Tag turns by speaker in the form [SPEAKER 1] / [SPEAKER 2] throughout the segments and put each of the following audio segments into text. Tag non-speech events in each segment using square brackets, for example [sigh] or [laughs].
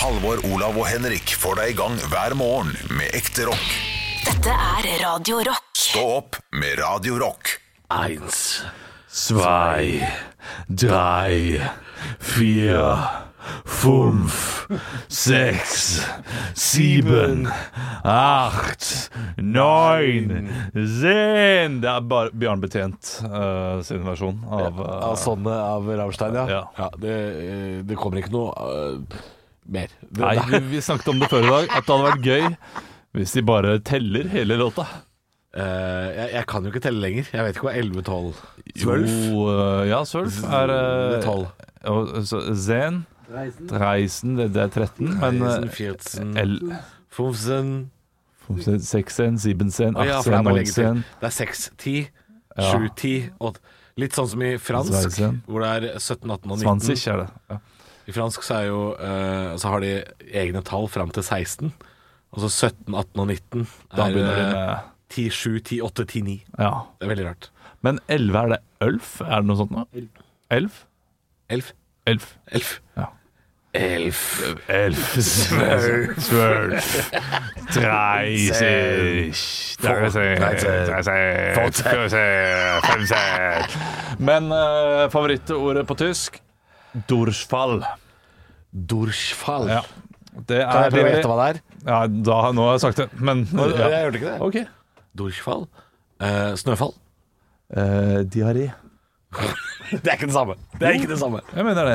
[SPEAKER 1] Halvor, Olav og Henrik får deg i gang hver morgen med ekte rock.
[SPEAKER 2] Dette er Radio Rock.
[SPEAKER 1] Stå opp med Radio Rock.
[SPEAKER 3] Eins, zwei, drei, vier, fünf, sechs, sieben, acht, neun, zehn Det er bare Bjarne Betjent eh, sin versjon av
[SPEAKER 4] Av
[SPEAKER 3] eh,
[SPEAKER 4] sånne av Rammstein, ja.
[SPEAKER 3] Ja.
[SPEAKER 4] det, eh, det kommer ikke noe eh, mer. Det,
[SPEAKER 3] Nei,
[SPEAKER 4] det-
[SPEAKER 3] vi, vi snakket om det før i dag, at det hadde vært gøy hvis de bare teller hele låta.
[SPEAKER 4] [laughs] eh, jeg, jeg kan jo ikke telle lenger. Jeg vet ikke hva 11, 12
[SPEAKER 3] Jo, eh, ja, Svølf er eh,
[SPEAKER 4] Det er tolv.
[SPEAKER 3] og så Zen, Reisen, det, det er 13, men eh,
[SPEAKER 4] 14
[SPEAKER 3] L,
[SPEAKER 4] 15
[SPEAKER 3] Seksen, Sibensen,
[SPEAKER 4] Å ja, for det
[SPEAKER 3] Achtsen,
[SPEAKER 4] er bare å legge til.
[SPEAKER 3] Neunsen
[SPEAKER 4] Det er 6, 10,
[SPEAKER 3] Ah, Ja.
[SPEAKER 4] 7, 10, 8. Litt sånn som i fransk,
[SPEAKER 3] Sveisen.
[SPEAKER 4] hvor det er 17, 18 og 19.
[SPEAKER 3] Svansich er det. Ja.
[SPEAKER 4] I fransk så, er jo, eh, så har de egne tall fram til 16. Og så 17, 18 og 19
[SPEAKER 3] Da
[SPEAKER 4] er
[SPEAKER 3] begynner de
[SPEAKER 4] eh,
[SPEAKER 3] med
[SPEAKER 4] 10, 7, 10, 8, 10, 9.
[SPEAKER 3] Ja.
[SPEAKER 4] Det er veldig rart.
[SPEAKER 3] Men 11, er det Ølf? Er det noe sånt nå? Elf?
[SPEAKER 4] 11.
[SPEAKER 3] Elf.
[SPEAKER 4] 11.
[SPEAKER 3] Ja.
[SPEAKER 4] 11.
[SPEAKER 3] Elf. Svølf. Dreisich. Men eh, favorittordet på tysk? Durchfall.
[SPEAKER 4] Durchfall.
[SPEAKER 3] Ja. Det
[SPEAKER 4] Kan jeg
[SPEAKER 3] er
[SPEAKER 4] prøve å gjette hva det er?
[SPEAKER 3] Ja, da, nå har jeg sagt det, men
[SPEAKER 4] Jeg
[SPEAKER 3] ja.
[SPEAKER 4] hørte ikke det.
[SPEAKER 3] OK.
[SPEAKER 4] Durchfall. Eh, snøfall.
[SPEAKER 3] Diaré.
[SPEAKER 4] [laughs] Det er ikke det samme. Det er ikke det samme.
[SPEAKER 3] Jeg mener det.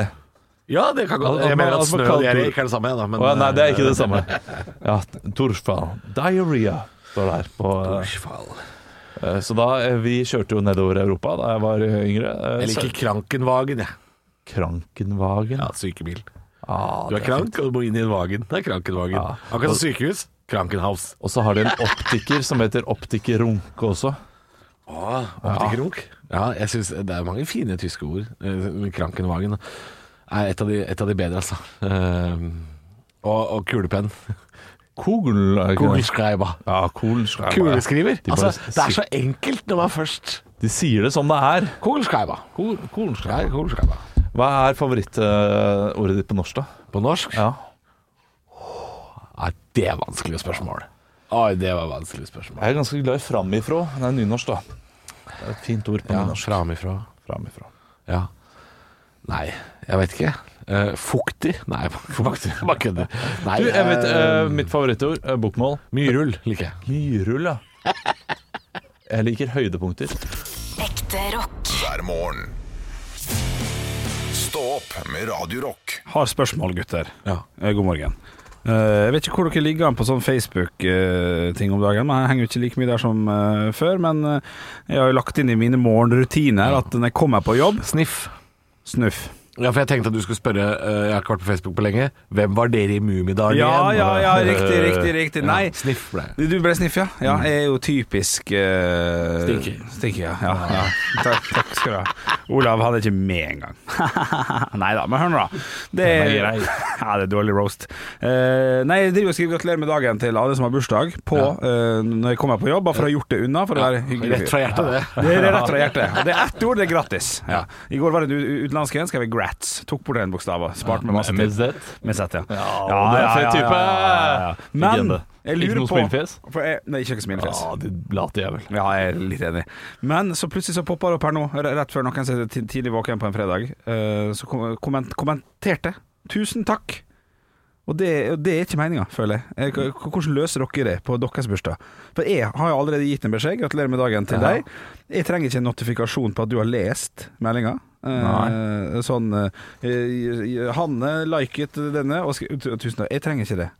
[SPEAKER 4] Ja, det kan godt
[SPEAKER 3] Al- al-
[SPEAKER 4] Jeg mener
[SPEAKER 3] al-
[SPEAKER 4] at snø
[SPEAKER 3] kalt-
[SPEAKER 4] og diaré ikke er altså, det samme. Da, men, eh,
[SPEAKER 3] Å, ja, nei, det er ikke det
[SPEAKER 4] [laughs]
[SPEAKER 3] samme. Ja, Torfall. Diarrhea står der. På,
[SPEAKER 4] Durchfall.
[SPEAKER 3] eh, så da eh, Vi kjørte jo nedover Europa da jeg var eh, yngre. Eh,
[SPEAKER 4] Jeg liker Krankenvagen, jeg.
[SPEAKER 3] så- Krankenvagen.
[SPEAKER 4] Ja, sykebil.
[SPEAKER 3] Ah,
[SPEAKER 4] Du er
[SPEAKER 3] det fint.
[SPEAKER 4] krank, og du må inn i en vagen. Det er Krankenvagen.
[SPEAKER 3] Ja.
[SPEAKER 4] Akkurat som sykehus. Krankenhaus.
[SPEAKER 3] Og så har de en optiker som heter Optiker Runke også.
[SPEAKER 4] Åh, optikerunk. Ja, jeg synes det er mange fine tyske ord. Eh, men Krankenvagen er et av de, et av de bedre, altså. Eh, og, og kulepenn.
[SPEAKER 3] Kugel... er ikke det?
[SPEAKER 4] Kugelskreiber.
[SPEAKER 3] Ja, Kugelschreiber.
[SPEAKER 4] Kuleskriver.
[SPEAKER 3] De, bare
[SPEAKER 4] Altså, det er
[SPEAKER 3] si-
[SPEAKER 4] så enkelt når man først
[SPEAKER 3] de sier det som det er.
[SPEAKER 4] Kugelskreiber.
[SPEAKER 3] Kul- Kugelschreiber.
[SPEAKER 4] Ja, kugelskreiber.
[SPEAKER 3] Hva er favorittordet ditt på norsk, da?
[SPEAKER 4] På norsk?
[SPEAKER 3] Ja.
[SPEAKER 4] Nei, det er vanskelige spørsmål. Oi, det var vanskelige spørsmål.
[SPEAKER 3] Jeg er ganske glad i framifrå. Det er nynorsk, da. Det er et fint ord på
[SPEAKER 4] Ja,
[SPEAKER 3] nynorsk.
[SPEAKER 4] framifrå.
[SPEAKER 3] Framifrå.
[SPEAKER 4] Ja. Nei, jeg vet ikke. Eh, fuktig? Nei, [laughs] fuktig. bare kødder. Nei,
[SPEAKER 3] Du, jeg vet,
[SPEAKER 4] eh,
[SPEAKER 3] eh, mitt favorittord, eh, bokmål
[SPEAKER 4] Myrull liker jeg.
[SPEAKER 3] Myrull, [laughs] ja Jeg liker høydepunkter
[SPEAKER 2] Ekte rock.
[SPEAKER 1] Hver morgen. Stå opp med Radio Rock.
[SPEAKER 5] Har spørsmål, gutter.
[SPEAKER 4] Ja.
[SPEAKER 5] Eh, God morgen. Eh, jeg vet ikke hvor dere ligger an på sånn Facebook-ting om dagen. Men Jeg henger jo ikke like mye der som eh, før. Men eh, jeg har jo lagt inn i mine morgenrutiner at når jeg kommer på jobb
[SPEAKER 4] Sniff.
[SPEAKER 5] Snuff.
[SPEAKER 4] Ja, for jeg tenkte at du skulle spørre, eh, jeg har ikke vært på Facebook på lenge, hvem var dere i Mummidagen?
[SPEAKER 5] Ja, ja, ja, riktig, riktig. riktig Nei.
[SPEAKER 4] [laughs] Ja, sniff ble det.
[SPEAKER 5] Du ble sniff, ja? Ja, jeg er jo typisk uh,
[SPEAKER 4] Stinker.
[SPEAKER 5] ja. ja, ja. Takk, takk skal du ha. Olav hadde ikke med [laughs] engang. nei da, men hør nå, da. Det er,
[SPEAKER 3] Den er grei.
[SPEAKER 5] [laughs] ja, det er dårlig roast. Eh, nei, jeg driver og skriver 'gratulerer med dagen' til alle som har bursdag, på, eh, når jeg kommer på jobb, bare for å ha gjort det unna. For å være hyggelig.
[SPEAKER 4] Rett fra hjertet, det.
[SPEAKER 5] Det er rett fra hjertet. Og Det er ett ord, det er gratis. Ja. I går var det en u- utenlandsk en, skrev jeg 'grats'. Tok bort en bokstav og sparte meg masse tid.
[SPEAKER 3] MZ
[SPEAKER 5] Med Z, ja.
[SPEAKER 3] Ja, det er fett type.
[SPEAKER 5] Men
[SPEAKER 3] Legende.
[SPEAKER 5] jeg
[SPEAKER 3] Ikke
[SPEAKER 5] lurer
[SPEAKER 3] noe
[SPEAKER 5] på
[SPEAKER 3] smilefjes?
[SPEAKER 5] for jeg, Nei, ikke noe smilefjes.
[SPEAKER 3] Ja, det later jeg vel
[SPEAKER 5] Ja, jeg er litt enig. Men så plutselig så popper det opp her nå, re- rett før noen sitter ti- tidlig våken på en fredag, eh, så kom- komment, kommenterte 'tusen takk'. Og det, og det er ikke meninga, føler jeg. Eh, k- k- Hvordan løser dere det på deres bursdag? For jeg har jo allerede gitt en beskjed, gratulerer med dagen til
[SPEAKER 3] Ja.
[SPEAKER 5] deg. Jeg trenger ikke en notifikasjon på at du har lest meldinga. Eh,
[SPEAKER 3] Nei.
[SPEAKER 5] sånn eh, Hanne liket denne, og skri- tu- tusen takk. Jeg trenger ikke det.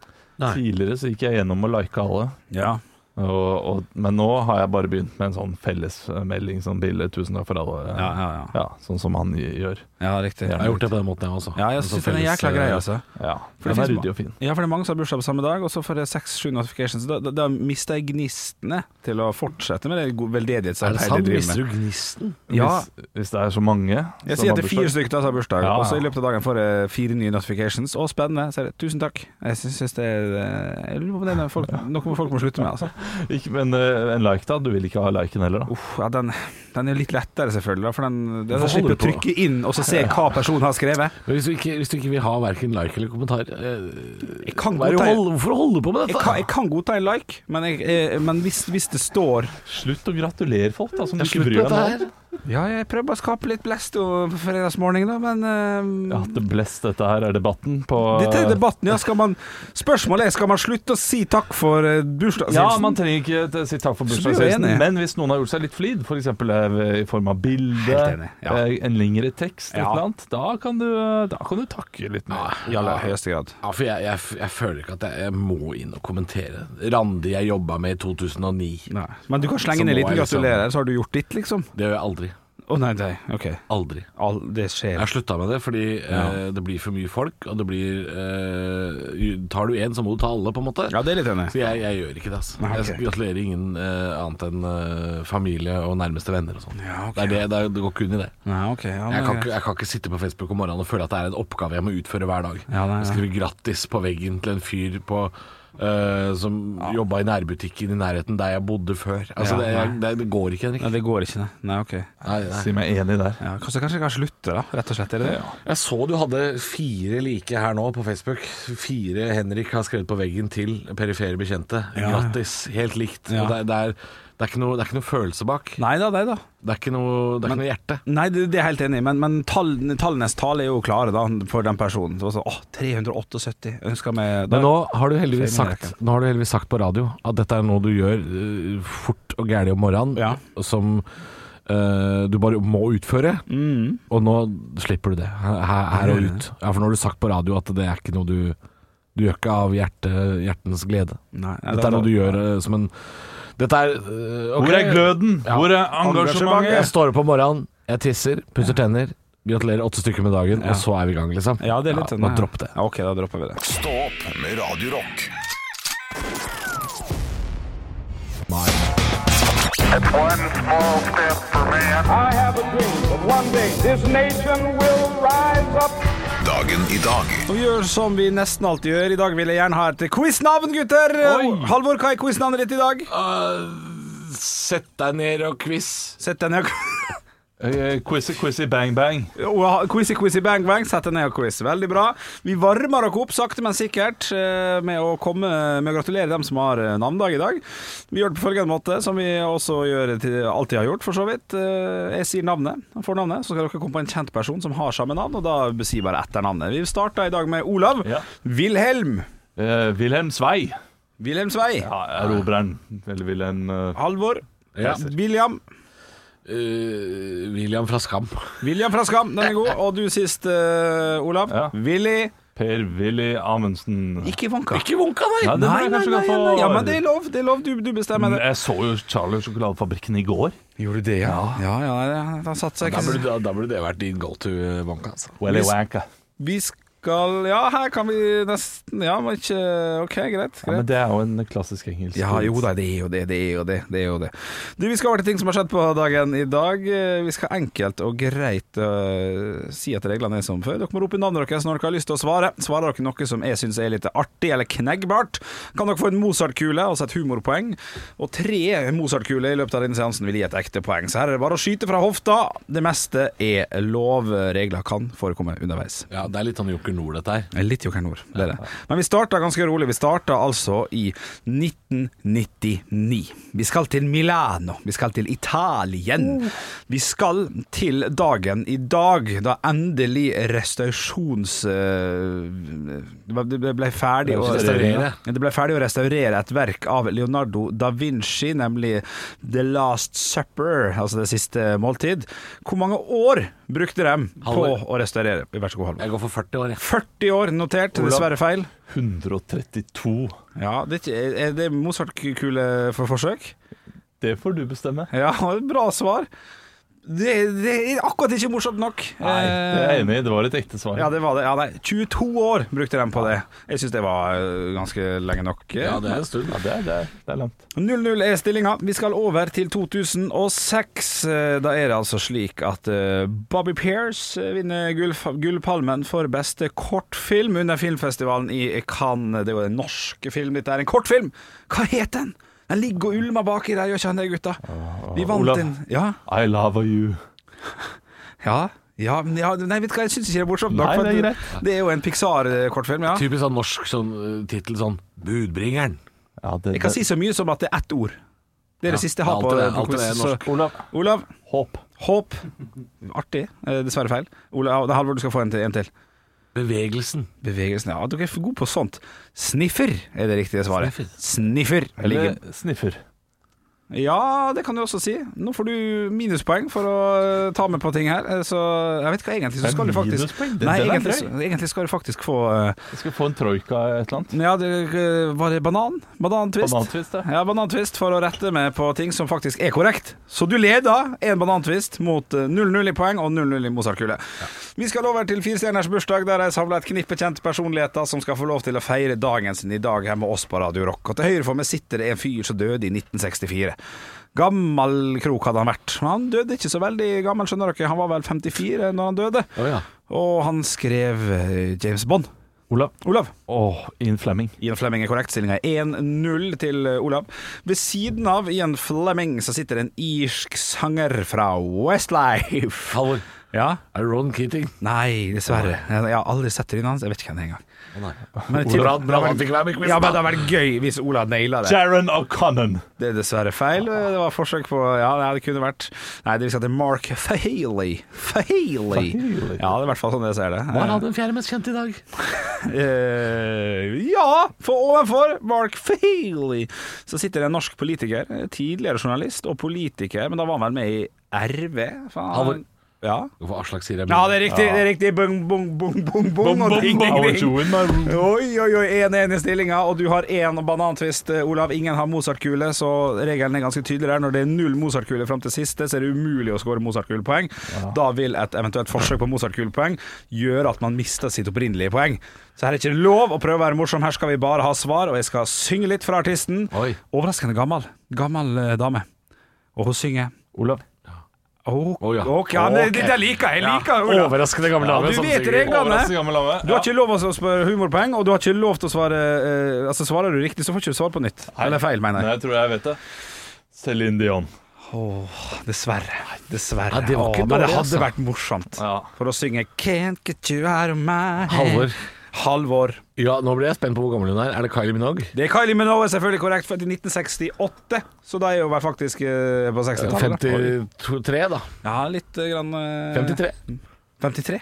[SPEAKER 3] Tidligere så gikk jeg gjennom og liket alle
[SPEAKER 5] Ja.
[SPEAKER 3] og, og, Men nå har jeg bare begynt med en sånn fellesmelding Sånn bilde, tusen takk for alle
[SPEAKER 5] Ja, ja, ja.
[SPEAKER 3] sånn som han gjør
[SPEAKER 5] ja riktig.
[SPEAKER 4] Jeg har gjort det på den måten, jeg også.
[SPEAKER 5] Ja, jeg
[SPEAKER 4] Altså,
[SPEAKER 5] syns den
[SPEAKER 4] felles,
[SPEAKER 5] er jækla grei,
[SPEAKER 4] eh,
[SPEAKER 5] altså.
[SPEAKER 3] Ja,
[SPEAKER 5] For
[SPEAKER 3] den er
[SPEAKER 5] det finnes
[SPEAKER 3] ryddig
[SPEAKER 5] ma-
[SPEAKER 3] og fin
[SPEAKER 5] Ja, for det er mange som har bursdag på samme dag, og så får jeg seks-sju notifications. Da, da, da mister jeg gnistene til å fortsette med det
[SPEAKER 4] eh,
[SPEAKER 5] go-
[SPEAKER 4] Er det
[SPEAKER 5] veldedighetsarbeidet
[SPEAKER 4] sant?
[SPEAKER 5] jeg
[SPEAKER 4] Mister
[SPEAKER 5] driver med.
[SPEAKER 4] du gnisten?
[SPEAKER 5] Ja,
[SPEAKER 3] hvis, hvis det er så mange som
[SPEAKER 5] jeg sier
[SPEAKER 3] har
[SPEAKER 5] at det er fire
[SPEAKER 3] bursdag.
[SPEAKER 5] stykker da som har
[SPEAKER 3] Ja,
[SPEAKER 5] bursdag,
[SPEAKER 3] ja.
[SPEAKER 5] og så i løpet av dagen får jeg fire nye notifications. Å, spennende. Så er det tusen takk. Jeg syns det er eh, jeg lurer på om det er noe folk, noe folk må slutte med, altså.
[SPEAKER 3] Ikke, Men eh, en like da, du vil ikke ha liken heller da
[SPEAKER 5] Uff, ja, den, den er litt lettere, selvfølgelig, da, for den, den
[SPEAKER 4] Hvorfor holder
[SPEAKER 5] slipper å
[SPEAKER 4] du på?
[SPEAKER 5] trykke inn og så se hva personen har skrevet.
[SPEAKER 4] Men hvis, du ikke, hvis du ikke vil ha verken like eller kommentar eh,
[SPEAKER 5] Jeg kan
[SPEAKER 4] hva er det
[SPEAKER 5] godta-
[SPEAKER 4] å holde, Hvorfor holde på med
[SPEAKER 5] Jeg
[SPEAKER 4] dette?
[SPEAKER 5] kan, jeg kan godta en like, men, jeg, eh, men hvis, hvis det står
[SPEAKER 3] Slutt å gratulere folk da, som du
[SPEAKER 4] Det er
[SPEAKER 3] ikke
[SPEAKER 4] slutt på
[SPEAKER 3] bryr deg
[SPEAKER 4] dette
[SPEAKER 3] om.
[SPEAKER 4] her.
[SPEAKER 5] Ja, jeg prøver bare å skape litt blest og- på fredagsmorgen, da, men eh,
[SPEAKER 3] Ja, det blest dette her er debatten på
[SPEAKER 5] Dette er debatten, ja. Skal man, spørsmålet er skal man slutte å si takk for eh, bursdagshilsen.
[SPEAKER 3] Ja, man trenger ikke t- si takk for
[SPEAKER 5] Så blir vi
[SPEAKER 3] bursdagshilsen,
[SPEAKER 5] enige.
[SPEAKER 3] men hvis noen har gjort seg litt flid, f.eks. i form av bilde,
[SPEAKER 5] Helt enig, ja.
[SPEAKER 3] eh, en lengre tekst, et
[SPEAKER 5] Ja.
[SPEAKER 3] eller annet, da kan du, eh, da kan du takke litt mer.
[SPEAKER 5] I aller høyeste grad.
[SPEAKER 4] Ja, for jeg, jeg, jeg føler ikke at jeg, jeg må inn og kommentere. Randi jeg jobba med i 2009.
[SPEAKER 5] Nei. Men du kan
[SPEAKER 4] Så
[SPEAKER 5] slenge ned
[SPEAKER 4] må
[SPEAKER 5] en liten
[SPEAKER 4] jeg liksom-
[SPEAKER 5] gratulerer, så har du gjort ditt, liksom.
[SPEAKER 4] Det gjør jeg aldri.
[SPEAKER 5] Å nei, nei, ok.
[SPEAKER 4] Aldri.
[SPEAKER 5] All, det
[SPEAKER 4] Jeg
[SPEAKER 5] skjer.
[SPEAKER 4] har slutta med det fordi eh, det blir for mye folk, og det blir eh, Tar du én, så må du ta alle, på en måte.
[SPEAKER 5] Ja, det er litt enig.
[SPEAKER 4] Så jeg, jeg gjør ikke det. Altså.
[SPEAKER 5] Nei, ok.
[SPEAKER 4] Jeg gratulerer ingen eh, annet enn eh, familie og nærmeste venner og sånn.
[SPEAKER 5] Ja, ok.
[SPEAKER 4] Det, er det, det, er- det går ikke inn i det.
[SPEAKER 5] Nei, ok. Ja,
[SPEAKER 4] Jeg
[SPEAKER 5] men
[SPEAKER 4] kan,
[SPEAKER 5] greit.
[SPEAKER 4] ikke, jeg kan ikke sitte på Facebook om morgenen og føle at det er en oppgave jeg må utføre hver dag.
[SPEAKER 5] Ja, nei, nei.
[SPEAKER 4] Jeg skriver grattis på veggen til en fyr på, øh, som jobba i nærbutikken i nærheten der jeg bodde før. Altså,
[SPEAKER 5] Ja,
[SPEAKER 4] det, jeg, det, det går ikke, Henrik.
[SPEAKER 5] Nei, det går ikke, nei. Nei, ok.
[SPEAKER 4] Nei, nei.
[SPEAKER 3] Si meg enig der.
[SPEAKER 5] Ja, kanskje, kanskje jeg kan slutte, da, rett og slett. Er det det?
[SPEAKER 4] Jeg så du hadde fire like her nå på Facebook. Fire Henrik har skrevet på veggen til perifere bekjente.
[SPEAKER 5] Ja.
[SPEAKER 4] Grattis. Helt likt.
[SPEAKER 5] Ja.
[SPEAKER 4] Og det, er- det, er, det, er ikke noe, det er ikke noe følelse bak.
[SPEAKER 5] Nei da, nei da.
[SPEAKER 4] Det er ikke noe, det er ikke noe hjerte.
[SPEAKER 5] Nei, det, det er jeg helt enig i, men, men tall, tallenes tall er jo klare da, for den personen. Så, så, åh, 378 ønsker meg da-
[SPEAKER 4] Men nå har, du heldigvis
[SPEAKER 5] Feilen er
[SPEAKER 4] sagt, nå har du heldigvis sagt på radio at dette er noe du gjør eh, fort og gærlig om morgenen,
[SPEAKER 5] Ja.
[SPEAKER 4] som eh, du bare må utføre.
[SPEAKER 5] Mm.
[SPEAKER 4] Og nå slipper du det, her, her og ut. Ja, For nå har du sagt på radio at det er ikke noe du Du gjør ikke av hjerte, hjertens glede.
[SPEAKER 5] Nei, nei,
[SPEAKER 4] Dette
[SPEAKER 5] da-
[SPEAKER 4] er noe du gjør eh, som en Dette er eh, ok.
[SPEAKER 3] Hvor er gløden?
[SPEAKER 4] Ja.
[SPEAKER 3] Hvor er
[SPEAKER 4] Jeg
[SPEAKER 3] engasjementet?
[SPEAKER 4] står opp om morgenen, jeg tisser, pusser tenner. Gratulerer åtte stykker med dagen, og så er vi i gang, liksom.
[SPEAKER 5] Ja, det er litt sånn,
[SPEAKER 4] Nå
[SPEAKER 5] ja.
[SPEAKER 4] dropp det.
[SPEAKER 5] Ja, ok, da dropper vi det.
[SPEAKER 1] Stå opp med Radio Rock.
[SPEAKER 6] One small step for man.
[SPEAKER 7] I have a dream that one day this nation will rise up.
[SPEAKER 1] Dagen i dag.
[SPEAKER 5] Og gjør som vi nesten alltid gjør. I dag vil jeg gjerne ha et quiznavn, gutter. Halvor, hva er quiznavnet ditt i dag?
[SPEAKER 4] Ah, Sett deg ned og quiz.
[SPEAKER 5] Sett deg ned og
[SPEAKER 3] Eh, Quizzy, quizzy, bang, bang.
[SPEAKER 5] og Quizy, quizy, bang, bang. Sett deg ned og quiz. Veldig bra. Vi varmer dere opp sakte, men sikkert eh, med å komme med å gratulere dem som har eh, navnedag i dag. Vi gjør det på følgende måte, som vi også gjør til, alltid har gjort, for så vidt. Eh, Jeg sier navnet, fornavnet, så skal dere komme på en kjent person som har samme navn, og da sier bare etternavnet. Vi starter i dag med Olav.
[SPEAKER 3] Ja.
[SPEAKER 5] Wilhelm.
[SPEAKER 3] Eh, Wilhelm Svei.
[SPEAKER 5] Wilhelm Svei.
[SPEAKER 3] Ja, Erobreren. Eller Wilhelm eh,
[SPEAKER 5] Halvor.
[SPEAKER 4] Ja.
[SPEAKER 5] William.
[SPEAKER 4] William fra Skam.
[SPEAKER 5] William fra Skam, den er god. Og du sist, eh, Olav.
[SPEAKER 3] Ja.
[SPEAKER 5] Willy.
[SPEAKER 3] Per-Willy Amundsen.
[SPEAKER 5] Ikke Vanka.
[SPEAKER 4] Ikke vonka, nei!
[SPEAKER 3] Ja, det må jeg kanskje kan få
[SPEAKER 5] Ja, men det er lov. Det er lov. Du, du bestemmer det.
[SPEAKER 3] Jeg så jo Charlie og sjokoladefabrikken i går.
[SPEAKER 5] Gjorde du det, ja? Ja, ja, ja. Han satte seg
[SPEAKER 4] Da
[SPEAKER 5] ikke
[SPEAKER 4] burde, da, da burde det vært din go to vanka. Altså.
[SPEAKER 3] Willy
[SPEAKER 5] Hvis-
[SPEAKER 3] Wanka.
[SPEAKER 5] Vi skal Ja, her kan vi nesten Ja, men ikke OK, greit.
[SPEAKER 3] Ja, men
[SPEAKER 5] greit.
[SPEAKER 3] det er jo en klassisk engelsk
[SPEAKER 5] Ja, jo da, det er jo det, det er jo det. det, er jo det. Du, Vi skal over til ting som har skjedd på dagen i dag. Eh, Vi skal enkelt og greit øh, si at reglene er som før. Dere må rope navnet deres når dere har lyst til å svare. Svarer dere noe som jeg syns er litt artig eller kneggbart, kan dere få en Mozart-kule, altså et humorpoeng. Og tre Mozart-kuler i løpet av denne seansen vil gi et ekte poeng. Så her er det bare å skyte fra hofta. Det meste er lov. Regler kan forekomme underveis.
[SPEAKER 4] Ja, det er litt sånn Joker Nord, dette her.
[SPEAKER 5] Det er Litt Joker Nord, det er det. Men vi starta ganske rolig. Vi starta altså i 1999. Vi skal til Milano. Vi skal til Italien. Vi skal til dagen i dag, da endelig restaurasjons... eh, Det ble- ble ferdig å
[SPEAKER 4] Restaurere.
[SPEAKER 5] Det ble ferdig å restaurere et verk av Leonardo da Vinci, nemlig The Last Supper, altså Det siste måltid. Hvor mange år brukte de på
[SPEAKER 4] Halvor.
[SPEAKER 5] å restaurere? Vær så god, Halvor.
[SPEAKER 4] Jeg går for 40 år, jeg.
[SPEAKER 5] 40 år notert,
[SPEAKER 3] Olav.
[SPEAKER 5] dessverre feil.
[SPEAKER 3] 132.
[SPEAKER 5] Ja, det, er ikke- er det Mozart-kule for forsøk?
[SPEAKER 3] Det får du bestemme.
[SPEAKER 5] Ja, [laughs] bra svar. Det, det er akkurat ikke morsomt nok.
[SPEAKER 3] Nei, det er jeg enig i. Det var et ekte svar.
[SPEAKER 5] Eh, Ja, det var det. Ja, nei, 22 år brukte de på det. Jeg syns det var eh, ganske lenge nok.
[SPEAKER 4] Ja, det er en stund.
[SPEAKER 3] Ja, det, er, det, er, det er langt.
[SPEAKER 5] 0-0 er stillinga. Vi skal over til 2006. Eh, Da er det altså slik at eh, Bobby Pearce eh, vinner Gullf- Gullpalmen for beste kortfilm under filmfestivalen i Cannes. Det er jo en norsk film, dette er en kortfilm. Hva het den? Den ligger og ulmer
[SPEAKER 4] Ah,
[SPEAKER 5] baki der, gjør ikke han det, gutta? Vi vant
[SPEAKER 3] Olav.
[SPEAKER 5] den. Ja.
[SPEAKER 3] I love you.
[SPEAKER 5] ja. Ja, men ja, nei, vet du hva, jeg syns ikke det er morsomt. nok,
[SPEAKER 3] Nei,
[SPEAKER 5] for
[SPEAKER 3] det er
[SPEAKER 5] at det er jo en Pixar-kortfilm, ja.
[SPEAKER 4] Typisk sånn norsk sånn, eh, tittel sånn 'Budbringeren'.
[SPEAKER 3] Ja, det,
[SPEAKER 5] Jeg kan si så mye som at det er ett ord. Det er det
[SPEAKER 4] Ja,
[SPEAKER 5] siste jeg har
[SPEAKER 4] alt
[SPEAKER 5] på,
[SPEAKER 4] er-
[SPEAKER 5] på
[SPEAKER 4] alt er
[SPEAKER 5] quiz,
[SPEAKER 4] norsk.
[SPEAKER 5] så-
[SPEAKER 3] Olav,
[SPEAKER 5] Olav,
[SPEAKER 3] håp.
[SPEAKER 5] håp. Artig. Eh, dessverre feil. Olav, det er Halvor, du skal få en til. En til.
[SPEAKER 4] Bevegelsen.
[SPEAKER 5] Bevegelsen, ja. Dere er for gode på sånt. Sniffer er det riktige svaret.
[SPEAKER 4] Sniffer.
[SPEAKER 5] Sniffer. Jeg liker
[SPEAKER 3] Eller
[SPEAKER 5] den.
[SPEAKER 3] sniffer.
[SPEAKER 5] Ja, det kan du også si. Nå får du minuspoeng for å eh, ta med på ting her. eh, Så jeg vet ikke hva egentlig så
[SPEAKER 3] Det er
[SPEAKER 5] skal du faktisk
[SPEAKER 3] minuspoeng? Den-
[SPEAKER 5] Nei,
[SPEAKER 3] den er
[SPEAKER 5] egentlig, så- egentlig skal du faktisk få eh,
[SPEAKER 3] Jeg skal få en troika et eller annet.
[SPEAKER 5] Ja, det eh, var det banan? Banantvist?
[SPEAKER 3] Banantvist, ja.
[SPEAKER 5] Ja, banantvist for å rette med på ting som faktisk er korrekt. Så du leder en banantvist mot eh, 0-0 i poeng og 0-0 i Mozart-kule. Vi skal over til Firestjerners bursdag, der jeg samler et knippe kjente personligheter som skal få lov til å feire dagen sin i dag her med oss på Radio Rock. Og til høyre for meg sitter det en fyr som døde i 1964. Gammel krok hadde han vært. Men han døde ikke så veldig gammel, skjønner dere. Han var vel 54 når han døde.
[SPEAKER 4] Å ja.
[SPEAKER 5] Og han skrev eh, James Bond.
[SPEAKER 3] Olav.
[SPEAKER 5] Olav.
[SPEAKER 3] Åh, Ian Flemming.
[SPEAKER 5] Ian Flemming er korrekt. Stillinga er 1-0 til eh, Olav. Ved siden av Ian Flemming så sitter en irsk sanger fra Westlife.
[SPEAKER 4] Halvor.
[SPEAKER 5] Ja?
[SPEAKER 4] Er det Ron Keating?
[SPEAKER 5] Nei, dessverre. Jeg har aldri sett trynet hans. Jeg vet ikke hvem det er engang.
[SPEAKER 4] Å nei.
[SPEAKER 5] Men det
[SPEAKER 4] Olav,
[SPEAKER 5] hadde
[SPEAKER 4] bra, han
[SPEAKER 5] vært-
[SPEAKER 4] fikk være med i quizen,
[SPEAKER 5] Ja, men
[SPEAKER 4] da.
[SPEAKER 5] det hadde vært gøy hvis Olav naila det.
[SPEAKER 3] Sharon O'Connon.
[SPEAKER 5] Det er dessverre feil. Det var forsøk på Ja, nei, det kunne vært Nei, det vi skal til Mark Fahaley. Fahaley.
[SPEAKER 3] Fahaley.
[SPEAKER 5] Ja, det er i hvert fall sånn jeg ser det.
[SPEAKER 4] Hva er han den fjerde mest kjente i dag?
[SPEAKER 5] Eh, ja, for ovenfor Mark Feely så sitter det en norsk politiker, eh, tidligere journalist og politiker, men da var han vel med i RV? Faen.
[SPEAKER 4] Halvor.
[SPEAKER 5] Ja.
[SPEAKER 4] Hvorfor Aslak sier jeg
[SPEAKER 5] ja, det er riktig! det er riktig Bung, bung, bung, bung, bung, og ding, ding,
[SPEAKER 3] Howard
[SPEAKER 5] ding.
[SPEAKER 3] Joen, da.
[SPEAKER 5] Oi, oi, oi, 1-1 i stillinga, og du har én banantvist, eh, Olav. Ingen har Mozart-kule, så regelen er ganske tydelig der. Når det er null Mozart-kule fram til siste, så er det umulig å skåre Mozart-kulepoeng. Da vil et eventuelt forsøk på Mozart-kulepoeng gjøre at man mister sitt opprinnelige poeng. Så her er ikke lov å prøve å være morsom, her skal vi bare ha svar, og jeg skal synge litt fra artisten.
[SPEAKER 4] Oi.
[SPEAKER 5] Overraskende gammel. Gammel eh, dame. Og hun synger
[SPEAKER 3] Olav.
[SPEAKER 5] Ok,
[SPEAKER 4] Å ja.
[SPEAKER 5] ok, ja, men
[SPEAKER 4] Ok.
[SPEAKER 5] det, det liker jeg. Jeg liker det, Olav.
[SPEAKER 4] Overraskende gammel
[SPEAKER 5] Ja,
[SPEAKER 4] dame.
[SPEAKER 5] du
[SPEAKER 4] som
[SPEAKER 5] vet
[SPEAKER 4] synger.
[SPEAKER 5] reglene.
[SPEAKER 3] Overraskende gammel dame.
[SPEAKER 5] Du har ikke lov å spørre humorpoeng, og du har ikke lov til å svare eh, Altså Svarer du riktig, så får du ikke svare på nytt. Eller feil, mener jeg.
[SPEAKER 3] Nei, jeg tror jeg vet det. Céline Dion.
[SPEAKER 5] Dessverre. Dessverre.
[SPEAKER 4] Ja, det var ikke
[SPEAKER 5] Åh, men det
[SPEAKER 4] dårlig,
[SPEAKER 5] hadde
[SPEAKER 4] altså.
[SPEAKER 5] vært morsomt.
[SPEAKER 3] Ja.
[SPEAKER 5] For å synge 'Can't get you out of my head'.
[SPEAKER 4] Halvor.
[SPEAKER 5] Halvor.
[SPEAKER 4] Ja, nå ble jeg spent på hvor gammel hun er. Er det Kylie Minogue?
[SPEAKER 5] Det er Kylie Minogue, selvfølgelig korrekt, født i 1968, så da er jo vel faktisk eh, på 60-tallet. da.
[SPEAKER 4] 53, da.
[SPEAKER 5] Ja, litt eh, grann eh,
[SPEAKER 4] 53.
[SPEAKER 5] 53?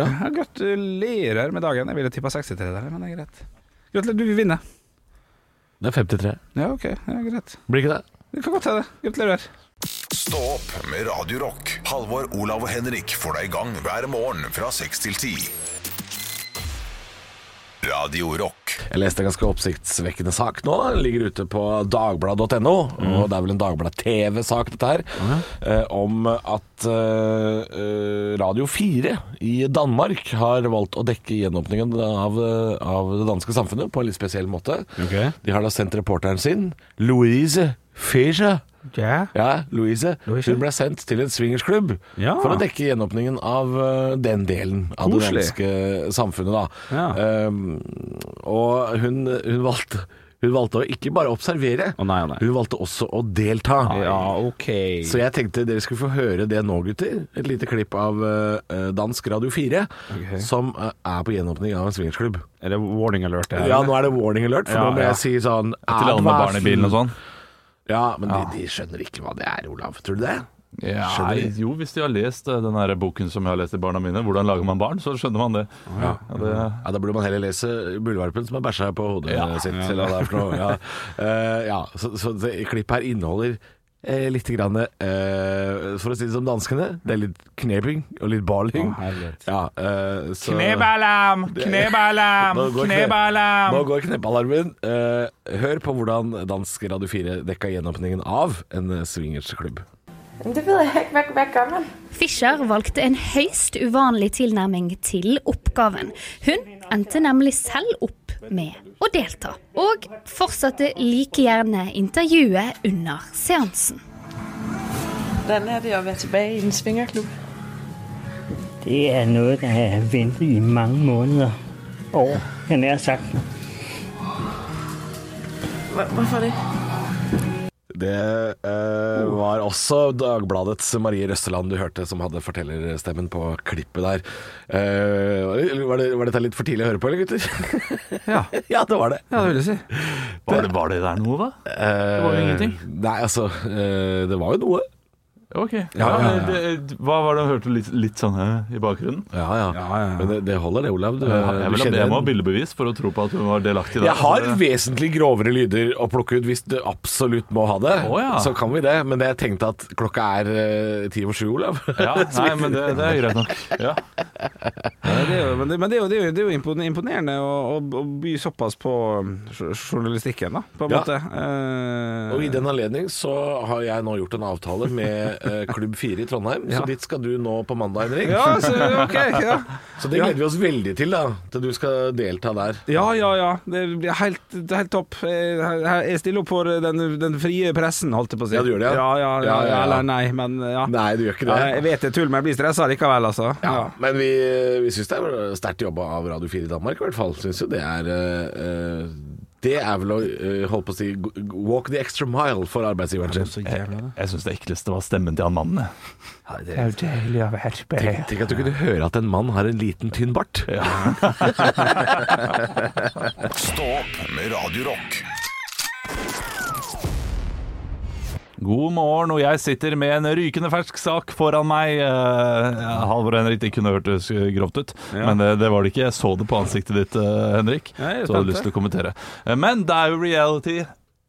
[SPEAKER 4] Ja.
[SPEAKER 5] Ja, gratulerer med dagen. Jeg ville tippa 63 der, men det er greit. Gratulerer, du vil vinne.
[SPEAKER 4] Det er 53.
[SPEAKER 5] Ja, OK. Ja, greit.
[SPEAKER 4] Blir ikke det?
[SPEAKER 5] Det kan godt hende. Gratulerer.
[SPEAKER 1] Stå opp med Radio Rock. Halvor, Olav og Henrik får deg i gang hver morgen fra 6 til 10. Radio Rock.
[SPEAKER 4] Jeg leste en ganske oppsiktsvekkende sak nå. Den ligger ute på dagbladet.no. Og det er vel en Dagbladet-TV-sak, dette her. eh, Om at eh, eh, Radio 4 i Danmark har valgt å dekke gjenåpningen av, eh, av det danske samfunnet på en litt spesiell måte.
[SPEAKER 5] Ok.
[SPEAKER 4] De har da sendt reporteren sin, Louise Fischer.
[SPEAKER 5] Ja.
[SPEAKER 4] Ja, Louise.
[SPEAKER 5] Louise?
[SPEAKER 4] Hun ble sendt til en swingersklubb
[SPEAKER 5] Ja.
[SPEAKER 4] for å dekke gjenåpningen av eh, den delen av det
[SPEAKER 5] Koselig.
[SPEAKER 4] danske samfunnet. Da.
[SPEAKER 5] Ja.
[SPEAKER 4] Ehm, og hun, hun, valgte, hun valgte å ikke bare observere,
[SPEAKER 5] Å nei, å nei.
[SPEAKER 4] hun valgte også å delta.
[SPEAKER 5] Ja, ok.
[SPEAKER 4] Så jeg tenkte dere skulle få høre det nå, gutter. Et lite klipp av eh, Dansk Radio 4, som eh, er på gjenåpning av en swingersklubb.
[SPEAKER 5] er det warning alert? det her,
[SPEAKER 4] Ja,
[SPEAKER 5] eller?
[SPEAKER 4] nå er det warning alert, for
[SPEAKER 5] Ja,
[SPEAKER 4] nå må
[SPEAKER 5] ja.
[SPEAKER 4] jeg si sånn
[SPEAKER 3] Til alle med barn i bilen og sånn.
[SPEAKER 4] Ja, men De, de skjønner ikke hva det er, Olav. Tror du det?
[SPEAKER 3] Ja,
[SPEAKER 4] Skjønner de?
[SPEAKER 3] jo, hvis de har lest eh, den her boken som jeg har lest til barna mine, 'Hvordan lager man barn', så skjønner man det. Ja, det
[SPEAKER 4] Ja, Da burde man heller lese Bullvarpen som har bæsja på hodet
[SPEAKER 3] Ja.
[SPEAKER 4] sitt. eller hva det er for noe. Ja. Eh, ja, så, så det klippet her inneholder eh, litt grann, eh, For å si det som danskene, det er litt kneping og litt baling. Ja, eh, så-
[SPEAKER 5] Knebalarm! Knebalarm!
[SPEAKER 4] Nå går kne- Nå
[SPEAKER 5] Knebalarm!
[SPEAKER 4] går kneppalarmen. Eh, hør på hvordan dansk Radio 4 dekka gjenåpningen av en swingersklubb.
[SPEAKER 8] Men det ved jeg ikke. Hvad, hvad gør man?
[SPEAKER 9] Fischer valgte en høyst uvanlig tilnærming til oppgaven. Hun endte nemlig selv opp med å delta, og fortsatte like gjerne intervjuet under seansen.
[SPEAKER 10] Hvordan er det at være tilbage i en svingerklub?
[SPEAKER 11] Det er noget, der er ventet i mange måneder. År, jeg nær sagt.
[SPEAKER 10] Hvor- Hvorfor det?
[SPEAKER 4] Det eh,
[SPEAKER 3] Oh.
[SPEAKER 4] var også Dagbladets Marie Røsteland du hørte, som hadde fortellerstemmen på klippet der. Eh, var, det, var, det, var dette litt for tidlig å høre på, eller gutter? [laughs]
[SPEAKER 5] Ja.
[SPEAKER 4] det var det.
[SPEAKER 5] Ja, det vil jeg si.
[SPEAKER 3] Var det, var det der noe, da?
[SPEAKER 4] det
[SPEAKER 3] var jo ingenting.
[SPEAKER 4] Eh, Nei, altså eh, Det var jo noe.
[SPEAKER 3] Ok. Ja,
[SPEAKER 4] ja, ja.
[SPEAKER 3] men Det, hva var det han hørte litt, litt sånn eh, i bakgrunnen?
[SPEAKER 4] Ja, ja. Men det, det holder, det, Olav. Du,
[SPEAKER 3] Jeg
[SPEAKER 4] Eh, du
[SPEAKER 3] vil ha
[SPEAKER 4] kjenner
[SPEAKER 3] det
[SPEAKER 4] igjen.
[SPEAKER 3] med å ha bildebevis for å tro på at hun var delaktig der. altså.
[SPEAKER 4] Jeg har vesentlig grovere lyder å plukke ut hvis du absolutt må ha det.
[SPEAKER 3] Å, ja.
[SPEAKER 4] Så kan vi det. Men jeg tenkte at klokka er eh, ti over sju, Olav.
[SPEAKER 3] Ja, nei, men det, det er greit nok.
[SPEAKER 4] [laughs]
[SPEAKER 3] Ja.
[SPEAKER 5] Nei, det er jo, men det, men det er jo, det er jo, det er jo impone- imponerende å, å, å by såpass på um, jo- journalistikken, da, på en
[SPEAKER 4] Ja.
[SPEAKER 5] måte. Eh,
[SPEAKER 4] Og i den anledning så har jeg nå gjort en avtale med eh, Klubb 4 i Trondheim, så dit skal du nå på mandag, Henrik.
[SPEAKER 5] ja, så, ok, ja.
[SPEAKER 4] Så det gleder vi oss veldig til, da. Til du skal delta der.
[SPEAKER 5] ja, ja, ja. Det blir helt, det er helt topp. Jeg, jeg stiller opp for den, den frie pressen, holdt jeg på å si.
[SPEAKER 4] Ja, du gjør det, ja.
[SPEAKER 5] Ja, ja,
[SPEAKER 4] Ja,
[SPEAKER 5] ja,
[SPEAKER 4] ja, ja.
[SPEAKER 5] Eller nei, men ja.
[SPEAKER 4] Nei, du gjør ikke
[SPEAKER 5] Ja,
[SPEAKER 4] det.
[SPEAKER 5] jeg vet det er tull, men jeg blir stressa likevel, altså.
[SPEAKER 4] Ja, Men vi, vi syns det er sterkt jobba av Radio 4 i Danmark, i hvert fall. Syns jo det er eh, eh, Det er vel å eh, holde på å si g- walk the extra mile for arbeidsgiveren sin.
[SPEAKER 3] Jeg, jeg syns det ekleste var stemmen til han mannen. jeg.
[SPEAKER 4] Tenk, tenk at du kunne høre at en mann har en liten, tynn bart.
[SPEAKER 1] Stå opp med Radio Rock.
[SPEAKER 3] God morgen, og jeg sitter med en rykende fersk sak foran meg. Eh, Halvor og Henrik, det kunne hørtes grovt ut, men eh, det, det var det ikke. Jeg så det på ansiktet ditt, eh, Henrik,
[SPEAKER 5] Ja, jeg er
[SPEAKER 3] så jeg hadde
[SPEAKER 5] spent,
[SPEAKER 3] lyst til å kommentere. Eh, Men det er jo reality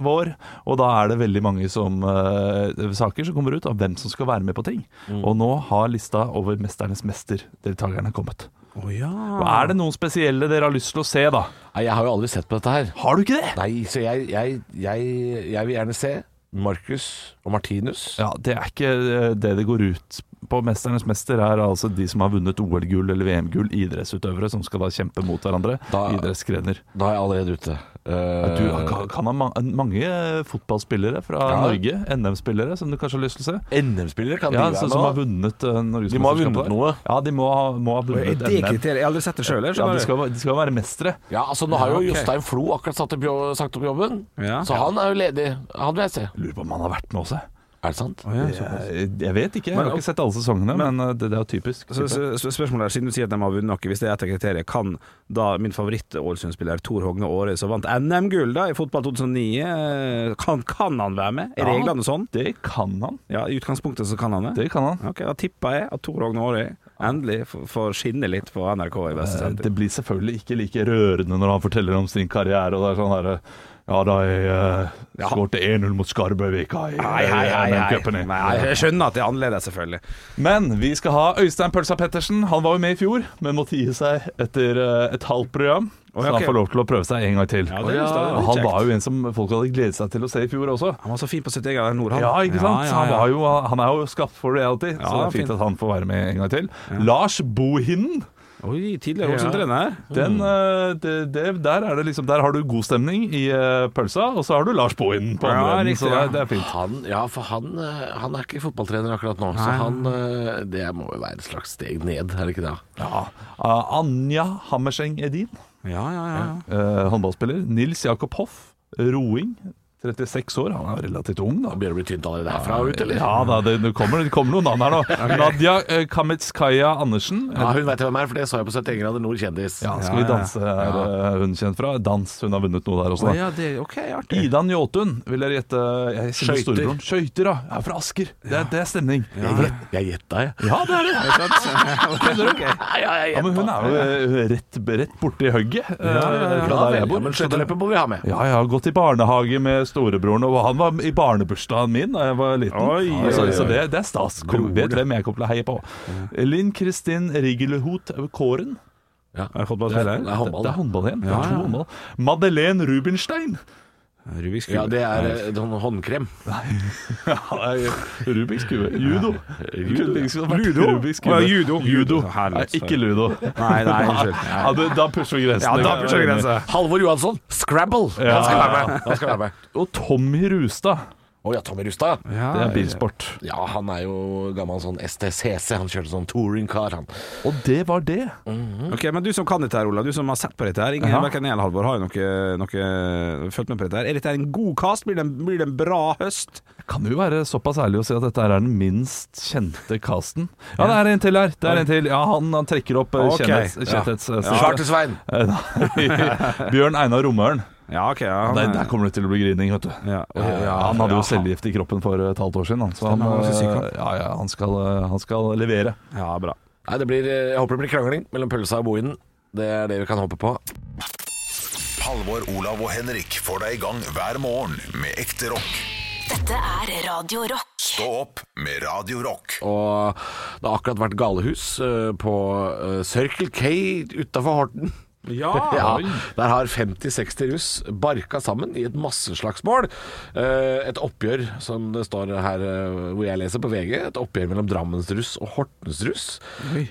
[SPEAKER 3] vår, og da er det veldig mange som, eh, saker som kommer ut av hvem som skal være med på ting.
[SPEAKER 5] Mm.
[SPEAKER 3] Og nå har lista over Mesternes mester-deltakerne kommet.
[SPEAKER 5] Å, ja.
[SPEAKER 3] Og er det noen spesielle dere har lyst til å se, da?
[SPEAKER 4] Nei, jeg har jo aldri sett på dette her.
[SPEAKER 3] Har du ikke det?
[SPEAKER 4] Nei, så jeg, jeg, jeg, jeg vil gjerne se Marcus og Martinus.
[SPEAKER 3] Ja, det er ikke eh, det det går ut på. Mesternes mester er altså de som har vunnet OL-gull eller VM-gull, idrettsutøvere som skal da kjempe mot hverandre.
[SPEAKER 4] Da-
[SPEAKER 3] Idrettsgrener.
[SPEAKER 4] Da er jeg allerede ute. Eh,
[SPEAKER 3] Du kan, kan ha ma- mange fotballspillere fra
[SPEAKER 4] Ja.
[SPEAKER 3] Norge, NM-spillere, som du kanskje har lyst til å se.
[SPEAKER 4] NM-spillere kan
[SPEAKER 3] Ja,
[SPEAKER 4] de
[SPEAKER 3] så,
[SPEAKER 4] være
[SPEAKER 3] Som har
[SPEAKER 4] med nå?
[SPEAKER 3] vunnet eh, Norges
[SPEAKER 4] De må ha
[SPEAKER 3] mesterskap
[SPEAKER 4] vunnet
[SPEAKER 3] der.
[SPEAKER 4] noe.
[SPEAKER 3] Ja, de må ha, må ha
[SPEAKER 5] Er
[SPEAKER 3] vunnet
[SPEAKER 5] det
[SPEAKER 3] NM.
[SPEAKER 5] kriteriet? Jeg har aldri sett det sjøl, jeg.
[SPEAKER 3] Ja,
[SPEAKER 5] skjønner
[SPEAKER 3] de
[SPEAKER 5] du.
[SPEAKER 3] skal, de skal være mestere.
[SPEAKER 4] Ja, altså Nå har jo
[SPEAKER 5] Ja, ok.
[SPEAKER 4] Jostein Flo akkurat satt opp, jo- sagt opp jobben,
[SPEAKER 5] Ja.
[SPEAKER 4] så han er jo ledig. Han vil jeg se.
[SPEAKER 3] Lurer på om han har vært med også.
[SPEAKER 4] Er det sant?
[SPEAKER 5] Å, ja, så-
[SPEAKER 3] Jeg, jeg vet ikke, jeg har ikke sett alle sesongene, men, eh, det, det er jo typisk.
[SPEAKER 5] Så, så, så spørsmålet er, siden du sier at de har vunnet noe, hvis det er et av kriteriene, kan da min favoritt-Ålesund-spiller Tor Hogne Aare, som vant NM-gull da i fotball 2009, eh, kan, kan han være med? Er
[SPEAKER 3] Ja.
[SPEAKER 5] reglene sånn?
[SPEAKER 3] Det kan han.
[SPEAKER 5] Ja, I utgangspunktet så kan han det.
[SPEAKER 3] Det kan han.
[SPEAKER 5] Ok, Da tipper jeg at Tor Hogne Aare endelig f- får skinne litt på NRK i beste
[SPEAKER 3] Eh, Det
[SPEAKER 5] sending.
[SPEAKER 3] blir selvfølgelig ikke like rørende når han forteller om sin karriere. Og det er sånn her, Ja, da jeg uh,
[SPEAKER 5] Ja.
[SPEAKER 3] skårte 1-0 mot Skarbøvika i eh,
[SPEAKER 5] Nei, hei, hei, hei.
[SPEAKER 3] NM-cupen.
[SPEAKER 5] Nei, jeg skjønner at det er annerledes, selvfølgelig.
[SPEAKER 3] Men vi skal ha Øystein Pølsa Pettersen. Han var jo med i fjor, men måtte gi seg etter eh, et halvt program.
[SPEAKER 5] Å, ja,
[SPEAKER 3] Så
[SPEAKER 5] ok.
[SPEAKER 3] han får lov til å prøve seg en gang til.
[SPEAKER 5] Ja, det er lyst til, det er
[SPEAKER 3] Og han
[SPEAKER 5] kjekt.
[SPEAKER 3] var jo en som folk hadde gledet seg til å se i fjor også.
[SPEAKER 5] Han var så fin på sitt eget nord, han.
[SPEAKER 3] Ja, ikke sant?
[SPEAKER 5] Ja, ja,
[SPEAKER 3] Han,
[SPEAKER 5] ja.
[SPEAKER 3] var jo, han er jo skapt for reality, så det
[SPEAKER 5] Ja,
[SPEAKER 3] er fint
[SPEAKER 5] fint.
[SPEAKER 3] at han får være med en gang til. Lars Bohinen.
[SPEAKER 5] Oi, tidligere Ålesund-trener.
[SPEAKER 3] Den, eh, det, det, der, er det liksom, der har du god stemning i eh, pølsa, og så har du Lars Bohinen på
[SPEAKER 5] Ja,
[SPEAKER 3] andre enden,
[SPEAKER 5] riktig,
[SPEAKER 3] så det,
[SPEAKER 5] ja.
[SPEAKER 3] er- det er fint.
[SPEAKER 4] Han, ja, for han, eh, han er ikke fotballtrener akkurat nå, så han eh, Det må jo være et slags steg ned, er det ikke det?
[SPEAKER 3] Ja. Ah, Anja Hammerseng Edin,
[SPEAKER 5] Ja, ja, ja. ja.
[SPEAKER 3] eh, håndballspiller. Nils Jakob Hoff, roing. 36 år, han er relativt ung da.
[SPEAKER 4] Han begynner å bli tynt allerede herfra og ut, eller?
[SPEAKER 3] Ja da, det, det, kommer, det kommer noen navn her nå. Nadia eh, Kametskaya Andersen.
[SPEAKER 4] Ja, hun veit hvem er, for det så jeg på 71 grader nord kjendis.
[SPEAKER 3] Ja, skal vi danse er eh, hun kjent fra? Dans, hun har vunnet noe der også.
[SPEAKER 5] Å,
[SPEAKER 3] Da.
[SPEAKER 5] ja det, ok, artig.
[SPEAKER 3] Ida Njåtun, vil dere gjette? eh, jeg kjenner
[SPEAKER 4] Skøyter.
[SPEAKER 3] storebroren. Skøyter, ja. Er fra Asker. Det, er- det er stemning.
[SPEAKER 4] Jeg, jeg gjetta, jeg.
[SPEAKER 3] ja det er det.
[SPEAKER 4] Ja, ja, jeg
[SPEAKER 3] Ja, men hun er
[SPEAKER 4] gjetta.
[SPEAKER 3] jo eh, rett, rett borti hugget eh, fra
[SPEAKER 4] Ja,
[SPEAKER 3] der
[SPEAKER 4] vel,
[SPEAKER 3] jeg
[SPEAKER 4] ja,
[SPEAKER 3] bor.
[SPEAKER 4] men skøyteløype må vi ha med.
[SPEAKER 3] Ja, jeg har gått i barnehage med storebroren, og han var i barnebursdagen min da jeg var liten.
[SPEAKER 5] Oi,
[SPEAKER 3] Ja,
[SPEAKER 5] oi,
[SPEAKER 3] så,
[SPEAKER 5] oi.
[SPEAKER 3] så det, det er stas. Kom, vet hvem jeg kommer til å heie på. Linn Kristin Rigelhot Kåren.
[SPEAKER 5] Er det fotballspiller?
[SPEAKER 4] Det er
[SPEAKER 3] det
[SPEAKER 4] håndball, det.
[SPEAKER 3] er håndball igjen. Det er to håndball. Madeleine Rubinstein. [laughs]
[SPEAKER 5] Rubiks kube.
[SPEAKER 4] Ja, det er eh, sånn håndkrem.
[SPEAKER 3] Rubiks kube. Judo. Kunne liksom vært
[SPEAKER 5] Ludo?
[SPEAKER 3] Rubiks kube.
[SPEAKER 5] Å, ja, judo.
[SPEAKER 3] Judo.
[SPEAKER 5] Herlig,
[SPEAKER 3] Nei, ikke ludo.
[SPEAKER 5] Nei, nei, unnskyld.
[SPEAKER 3] [laughs] Ja, det- da pusher vi grensen.
[SPEAKER 5] Ja, da pusher vi grensa.
[SPEAKER 4] Halvor Johansson, Scrabble! Han skal være med. Han skal være med.
[SPEAKER 3] Og Tommy Rustad.
[SPEAKER 4] Å ja, Tommy Rustad.
[SPEAKER 5] Ja,
[SPEAKER 3] Det er bilsport.
[SPEAKER 4] Ja, han er jo gammel sånn STCC. Han kjørte sånn touringcar, han.
[SPEAKER 3] Og det var det.
[SPEAKER 5] Ok, Men du som kan dette, her, Ola, du som har sett på dette, her ingen,
[SPEAKER 3] Ja.
[SPEAKER 5] hverken jeg eller Halvor har jo noe, noe følt med på dette. her Er dette en god cast? Blir det en, blir det en bra høst?
[SPEAKER 3] Kan jo være såpass ærlig å si at dette her er den minst kjente casten. Ja, det er en til her. Det er en til. Ja, han, han trekker opp eh,
[SPEAKER 5] Ok,
[SPEAKER 3] kjennhets...
[SPEAKER 5] ja.
[SPEAKER 3] kjennhets-
[SPEAKER 4] Charter-Svein.
[SPEAKER 3] [laughs] Eh, nei. Bjørn Einar Romøren.
[SPEAKER 5] Ja, ok. Ja, han,
[SPEAKER 3] Der, der kommer det til å bli grining, vet du. Eh,
[SPEAKER 5] ja, ok, ja,
[SPEAKER 3] han hadde jo
[SPEAKER 5] ja,
[SPEAKER 3] cellegift i kroppen for et halvt år siden. Han. Så han,
[SPEAKER 5] Stemmer, han var så syk,
[SPEAKER 3] eh,
[SPEAKER 5] han.
[SPEAKER 3] ja, ja, han, skal, eh, han skal levere.
[SPEAKER 5] Ja, bra.
[SPEAKER 4] Nei, det blir, eh, jeg håper det blir krangling mellom pølsa og bohinen. Det er det vi kan håpe på.
[SPEAKER 1] Halvor, Olav og Henrik får deg i gang hver morgen med ekte rock.
[SPEAKER 2] Dette er Radio Rock.
[SPEAKER 1] Stå opp med Radio Rock.
[SPEAKER 4] Og det har akkurat vært galehus eh, på eh, Circle K utafor Horten.
[SPEAKER 5] [laughs] Ja,
[SPEAKER 4] Ja, der har 50-60 russ barka sammen i et masseslagsmål. Eh, Et oppgjør, som det står her eh, hvor jeg leser på VG, et oppgjør mellom Drammensruss og Hortensruss,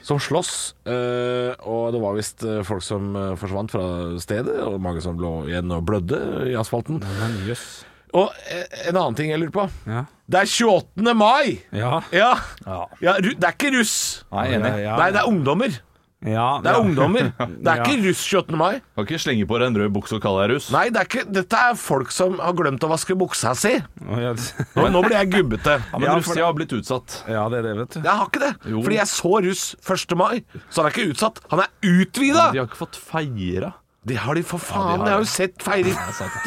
[SPEAKER 4] som slåss. Eh, Og det var visst eh, folk som eh, forsvant fra stedet, og mange som lå igjen og blødde i asfalten.
[SPEAKER 5] Jøss.
[SPEAKER 4] Og eh, en annen ting jeg lurer på.
[SPEAKER 5] Ja.
[SPEAKER 4] Det er 28. mai!
[SPEAKER 5] Ja.
[SPEAKER 4] Ja. Ja, ru- det er ikke russ.
[SPEAKER 3] Nei, enig.
[SPEAKER 5] Ja,
[SPEAKER 4] Nei, det er ungdommer.
[SPEAKER 5] ja,
[SPEAKER 4] Det er
[SPEAKER 5] ja. [laughs]
[SPEAKER 4] ungdommer. Det er
[SPEAKER 5] Ja.
[SPEAKER 4] ikke russ 28. mai.
[SPEAKER 3] Kan ikke slenge på deg en rød bukse og kalle deg russ.
[SPEAKER 4] Nei, det er ikke, dette er folk som har glemt å vaske buksa si.
[SPEAKER 5] Å, ja, det-
[SPEAKER 4] Nå, nå blir jeg gubbete.
[SPEAKER 3] Ja, men
[SPEAKER 5] Ja, for
[SPEAKER 3] russetida har blitt utsatt.
[SPEAKER 5] Ja, det er det, vet du.
[SPEAKER 4] Jeg har ikke det.
[SPEAKER 3] Jo.
[SPEAKER 4] Fordi jeg så russ 1. mai, så han er ikke utsatt. Han er
[SPEAKER 3] De
[SPEAKER 4] utvida!
[SPEAKER 3] har ikke fått feira.
[SPEAKER 4] Det har de, for
[SPEAKER 3] Ja, de
[SPEAKER 4] faen.
[SPEAKER 3] har
[SPEAKER 4] Jeg har
[SPEAKER 3] det.
[SPEAKER 4] jo sett feiring.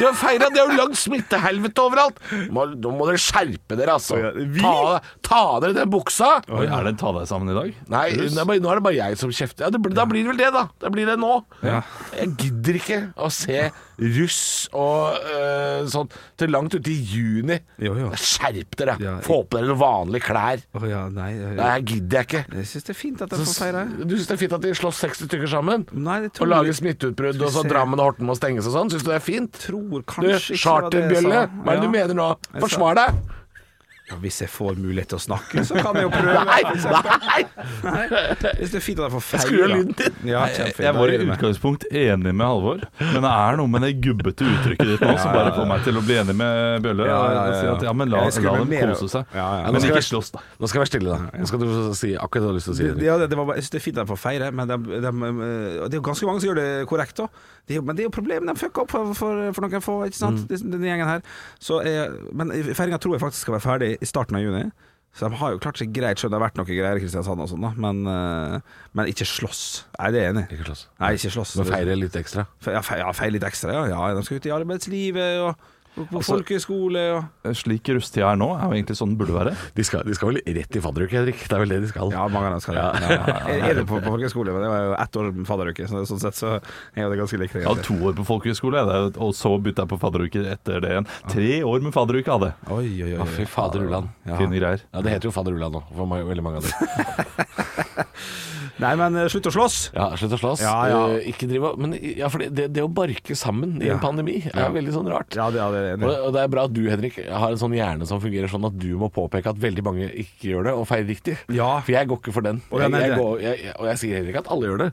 [SPEAKER 4] De har feira, de har jo lagd smittehelvete overalt. Må, nå må dere skjerpe dere, altså. Ta, ta av dere den buksa.
[SPEAKER 3] Oi, er det en ta deg sammen i dag?
[SPEAKER 4] Nei, det er bare, nå er det bare jeg som kjefter. Ja, det, blir- da blir det vel det, da. Da blir det nå. Jeg gidder ikke å se russ og øh, sånn til langt ute i juni.
[SPEAKER 5] Jo, jo.
[SPEAKER 4] Skjerp dere!
[SPEAKER 5] Ja,
[SPEAKER 4] Få på dere noen vanlige klær.
[SPEAKER 5] Å, ja, nei, ja,
[SPEAKER 4] Nei,
[SPEAKER 5] ja.
[SPEAKER 4] jeg gidder jeg ikke.
[SPEAKER 5] Jeg syns det er fint at jeg får feire.
[SPEAKER 4] Du syns det er fint at de slåss 60 stykker sammen?
[SPEAKER 5] Nei, det
[SPEAKER 4] Og
[SPEAKER 5] tror
[SPEAKER 4] lager
[SPEAKER 5] jeg-
[SPEAKER 4] smitteutbrudd, og så
[SPEAKER 5] Skal vi se.
[SPEAKER 4] Drammen og Horten må stenges og sånn? Syns du det er fint? Du,
[SPEAKER 5] Tror kanskje ikke det var det jeg
[SPEAKER 4] charterbjølle,
[SPEAKER 5] sa.
[SPEAKER 4] hva er det du
[SPEAKER 5] Ja.
[SPEAKER 4] mener nå?
[SPEAKER 5] Jeg sa-
[SPEAKER 4] Forsvar deg!
[SPEAKER 5] Ja, hvis jeg får mulighet til å snakke, så kan jeg jo prøve.
[SPEAKER 4] Nei! nei.
[SPEAKER 5] Hvis det er fint at jeg får feire.
[SPEAKER 4] Jeg skrur av lyden din.
[SPEAKER 5] Ja,
[SPEAKER 3] Jeg,
[SPEAKER 5] kjempefint.
[SPEAKER 3] jeg var i
[SPEAKER 5] Da gjør vi det.
[SPEAKER 3] utgangspunkt enig med Halvor, men det er noe med det gubbete uttrykket ditt nå som bare får meg til å bli enig med Bjølle.
[SPEAKER 5] Ja, ja, ja,
[SPEAKER 3] Og si at, ja men la,
[SPEAKER 5] Jeg skulle
[SPEAKER 3] la dem
[SPEAKER 5] mer-
[SPEAKER 3] kose seg.
[SPEAKER 5] Ja, ja.
[SPEAKER 3] Men
[SPEAKER 4] Nå skal
[SPEAKER 3] ikke
[SPEAKER 4] jeg-
[SPEAKER 3] slåss, da.
[SPEAKER 4] Nå skal jeg være stille, da. Nå skal du si akkurat det du har lyst til å si. Henrik.
[SPEAKER 5] Ja, det, det, var, bare- jeg synes det er fint at de får feire, men de, de, eh, og det er jo ganske mange som gjør det korrekt òg. Men det er jo problemet de fucker opp for, for, for noen få, ikke
[SPEAKER 4] Mm.
[SPEAKER 5] sant? Disse- Denne gjengen her. Så, eh, men feiringa tror jeg faktisk skal være ferdig i starten av juni. Så de har jo klart seg greit, selv om det har vært noe greier i Kristiansand og sånn, da. Men, eh, men ikke slåss. Nei, det er jeg enig i.
[SPEAKER 4] Ikke slåss.
[SPEAKER 5] Nei, ikke slåss.
[SPEAKER 4] Nå feirer jeg litt ekstra.
[SPEAKER 5] Fe- Ja, feir, ja, feir litt ekstra, ja. ja. De skal ut i arbeidslivet og og på folkeskole og
[SPEAKER 3] Slik rusttida er nå, er jo egentlig sånn den burde være.
[SPEAKER 4] De skal, de skal vel rett i fadderuke, Henrik. Det er vel det de skal.
[SPEAKER 5] Ja, mange av dem skal det. Ja, ja, ja. Jeg [laughs] er det på, på folkeskole, men det var jo ett år med fadderuke, så det- sånn sett så er jo det ganske likt.
[SPEAKER 3] Jeg hadde
[SPEAKER 5] egentlig.
[SPEAKER 3] to år på folkehøyskole, jeg, det er jo- og så bytta jeg på fadderuke etter det igjen. Tre år med fadderuke hadde jeg.
[SPEAKER 5] Oi, oi, oi.
[SPEAKER 4] Å, fy fader Ulland.
[SPEAKER 3] Fine greier.
[SPEAKER 4] Ja, det heter jo fader Ulland nå, for meg, veldig mange av dere.
[SPEAKER 5] Nei, men eh, slutt å slåss!
[SPEAKER 4] Ja, slutt å slåss.
[SPEAKER 5] Ja, ja.
[SPEAKER 4] Eh, ikke drive og- Men ja, for det, det å barke sammen i
[SPEAKER 5] Ja.
[SPEAKER 4] en pandemi er veldig sånn rart.
[SPEAKER 5] Ja, det, ja, det er
[SPEAKER 4] Og,
[SPEAKER 5] enig.
[SPEAKER 4] og det er bra at du, Henrik, har en sånn hjerne som fungerer sånn at du må påpeke at veldig mange ikke gjør det, og feirer riktig.
[SPEAKER 5] Ja.
[SPEAKER 4] For jeg går ikke for den.
[SPEAKER 5] Å, ja,
[SPEAKER 4] jeg,
[SPEAKER 5] nei,
[SPEAKER 4] jeg
[SPEAKER 5] det-
[SPEAKER 4] går, jeg, jeg, og jeg sier heller ikke at alle gjør det,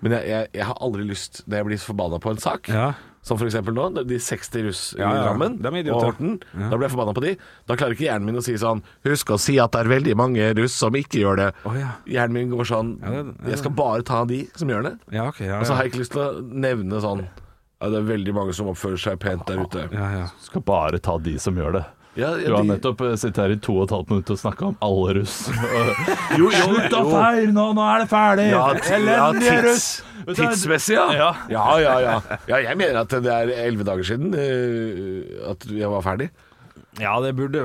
[SPEAKER 4] men jeg, jeg, jeg har aldri lyst, når jeg blir forbanna på en sak,
[SPEAKER 5] Ja.
[SPEAKER 4] Som for eksempel nå, de 60 russ i
[SPEAKER 5] Ja, ja.
[SPEAKER 4] Drammen
[SPEAKER 5] De er idioter.
[SPEAKER 4] og Horten. Da ble jeg forbanna på de. Da klarer ikke hjernen min å si sånn Husk å si at det er veldig mange russ som ikke gjør det.
[SPEAKER 5] Å, ja.
[SPEAKER 4] Hjernen min går sånn
[SPEAKER 5] Ja, det- ja, det-
[SPEAKER 4] Jeg skal bare ta de som gjør det.
[SPEAKER 5] Ja, ok. Ja,
[SPEAKER 4] Og så
[SPEAKER 5] ja.
[SPEAKER 4] har jeg ikke lyst til å nevne sånn ja, det er veldig mange som oppfører seg pent der ute.
[SPEAKER 5] Ja, ja.
[SPEAKER 3] Skal bare ta de som gjør det.
[SPEAKER 4] Ja, ja,
[SPEAKER 3] Du har
[SPEAKER 4] de-
[SPEAKER 3] nettopp eh, sittet her i to og et halvt minutt og snakka om alle russ.
[SPEAKER 4] Jo, jo,
[SPEAKER 3] Slutt å
[SPEAKER 4] jo.
[SPEAKER 3] feire nå, nå er det ferdig!
[SPEAKER 4] Ja, ti- ja,
[SPEAKER 3] Elendige russ!
[SPEAKER 4] tids, tidsmessig, ja.
[SPEAKER 3] Ja.
[SPEAKER 4] Ja, ja, ja. ja. Jeg mener at det er elleve dager siden eh, at jeg var ferdig.
[SPEAKER 5] ja det burde,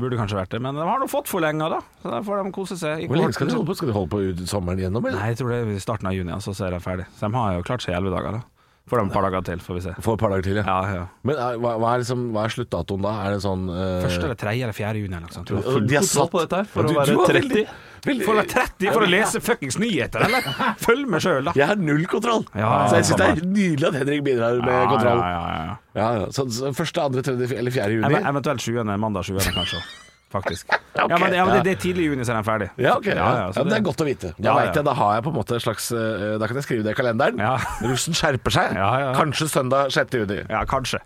[SPEAKER 5] burde kanskje vært det, men de har nå fått forlenga, da. Så der får de kose seg.
[SPEAKER 4] Hvor lenge skal de holde på? Skal de holde på ut sommeren igjennom, eller?
[SPEAKER 5] Nei, jeg tror det er i starten av juni, altså, så er de ferdig. Så de har jo klart seg i elleve dager, da. Får de et par dager til, får vi se.
[SPEAKER 4] For et par dager til,
[SPEAKER 5] Ja, ja.
[SPEAKER 4] Men er, hva, hva, er liksom, hva er sluttdatoen da? Er det sånn eh,
[SPEAKER 5] Første eller tredje eller fjerde juni, eller noe sånt. tror jeg.
[SPEAKER 4] og de har
[SPEAKER 3] kontroll
[SPEAKER 4] satt
[SPEAKER 3] på dette her for
[SPEAKER 4] Ja,
[SPEAKER 3] å være
[SPEAKER 4] har
[SPEAKER 3] 30.
[SPEAKER 4] veldig- veldig-
[SPEAKER 5] For å være 30 for å lese fuckings nyheter, eller? Følg med sjøl, da.
[SPEAKER 4] Jeg har null kontroll,
[SPEAKER 5] Ja, ja,
[SPEAKER 4] så jeg syns det
[SPEAKER 5] samme
[SPEAKER 4] er nydelig at Henrik bidrar med
[SPEAKER 5] Ja,
[SPEAKER 4] kontroll.
[SPEAKER 5] Ja, ja, ja.
[SPEAKER 4] Ja, ja. Så, så første, andre, tredje eller fjerde juni?
[SPEAKER 5] Ev eventuelt 7. mandag 7. kanskje. Faktisk. [laughs] ja, men, ja, men det, det er tidlig i juni, så er den ferdig.
[SPEAKER 4] Ja, ok. Ja,
[SPEAKER 5] Ja, ja, så
[SPEAKER 4] ja, men det er
[SPEAKER 5] det-
[SPEAKER 4] godt å vite. Da
[SPEAKER 5] Ja, ja.
[SPEAKER 4] vet jeg, da har jeg på en måte et slags eh, Da kan jeg skrive det i kalenderen.
[SPEAKER 5] Ja.
[SPEAKER 4] Russen skjerper seg.
[SPEAKER 5] Ja, ja, ja.
[SPEAKER 4] Kanskje søndag 6. juni.
[SPEAKER 5] Ja, kanskje.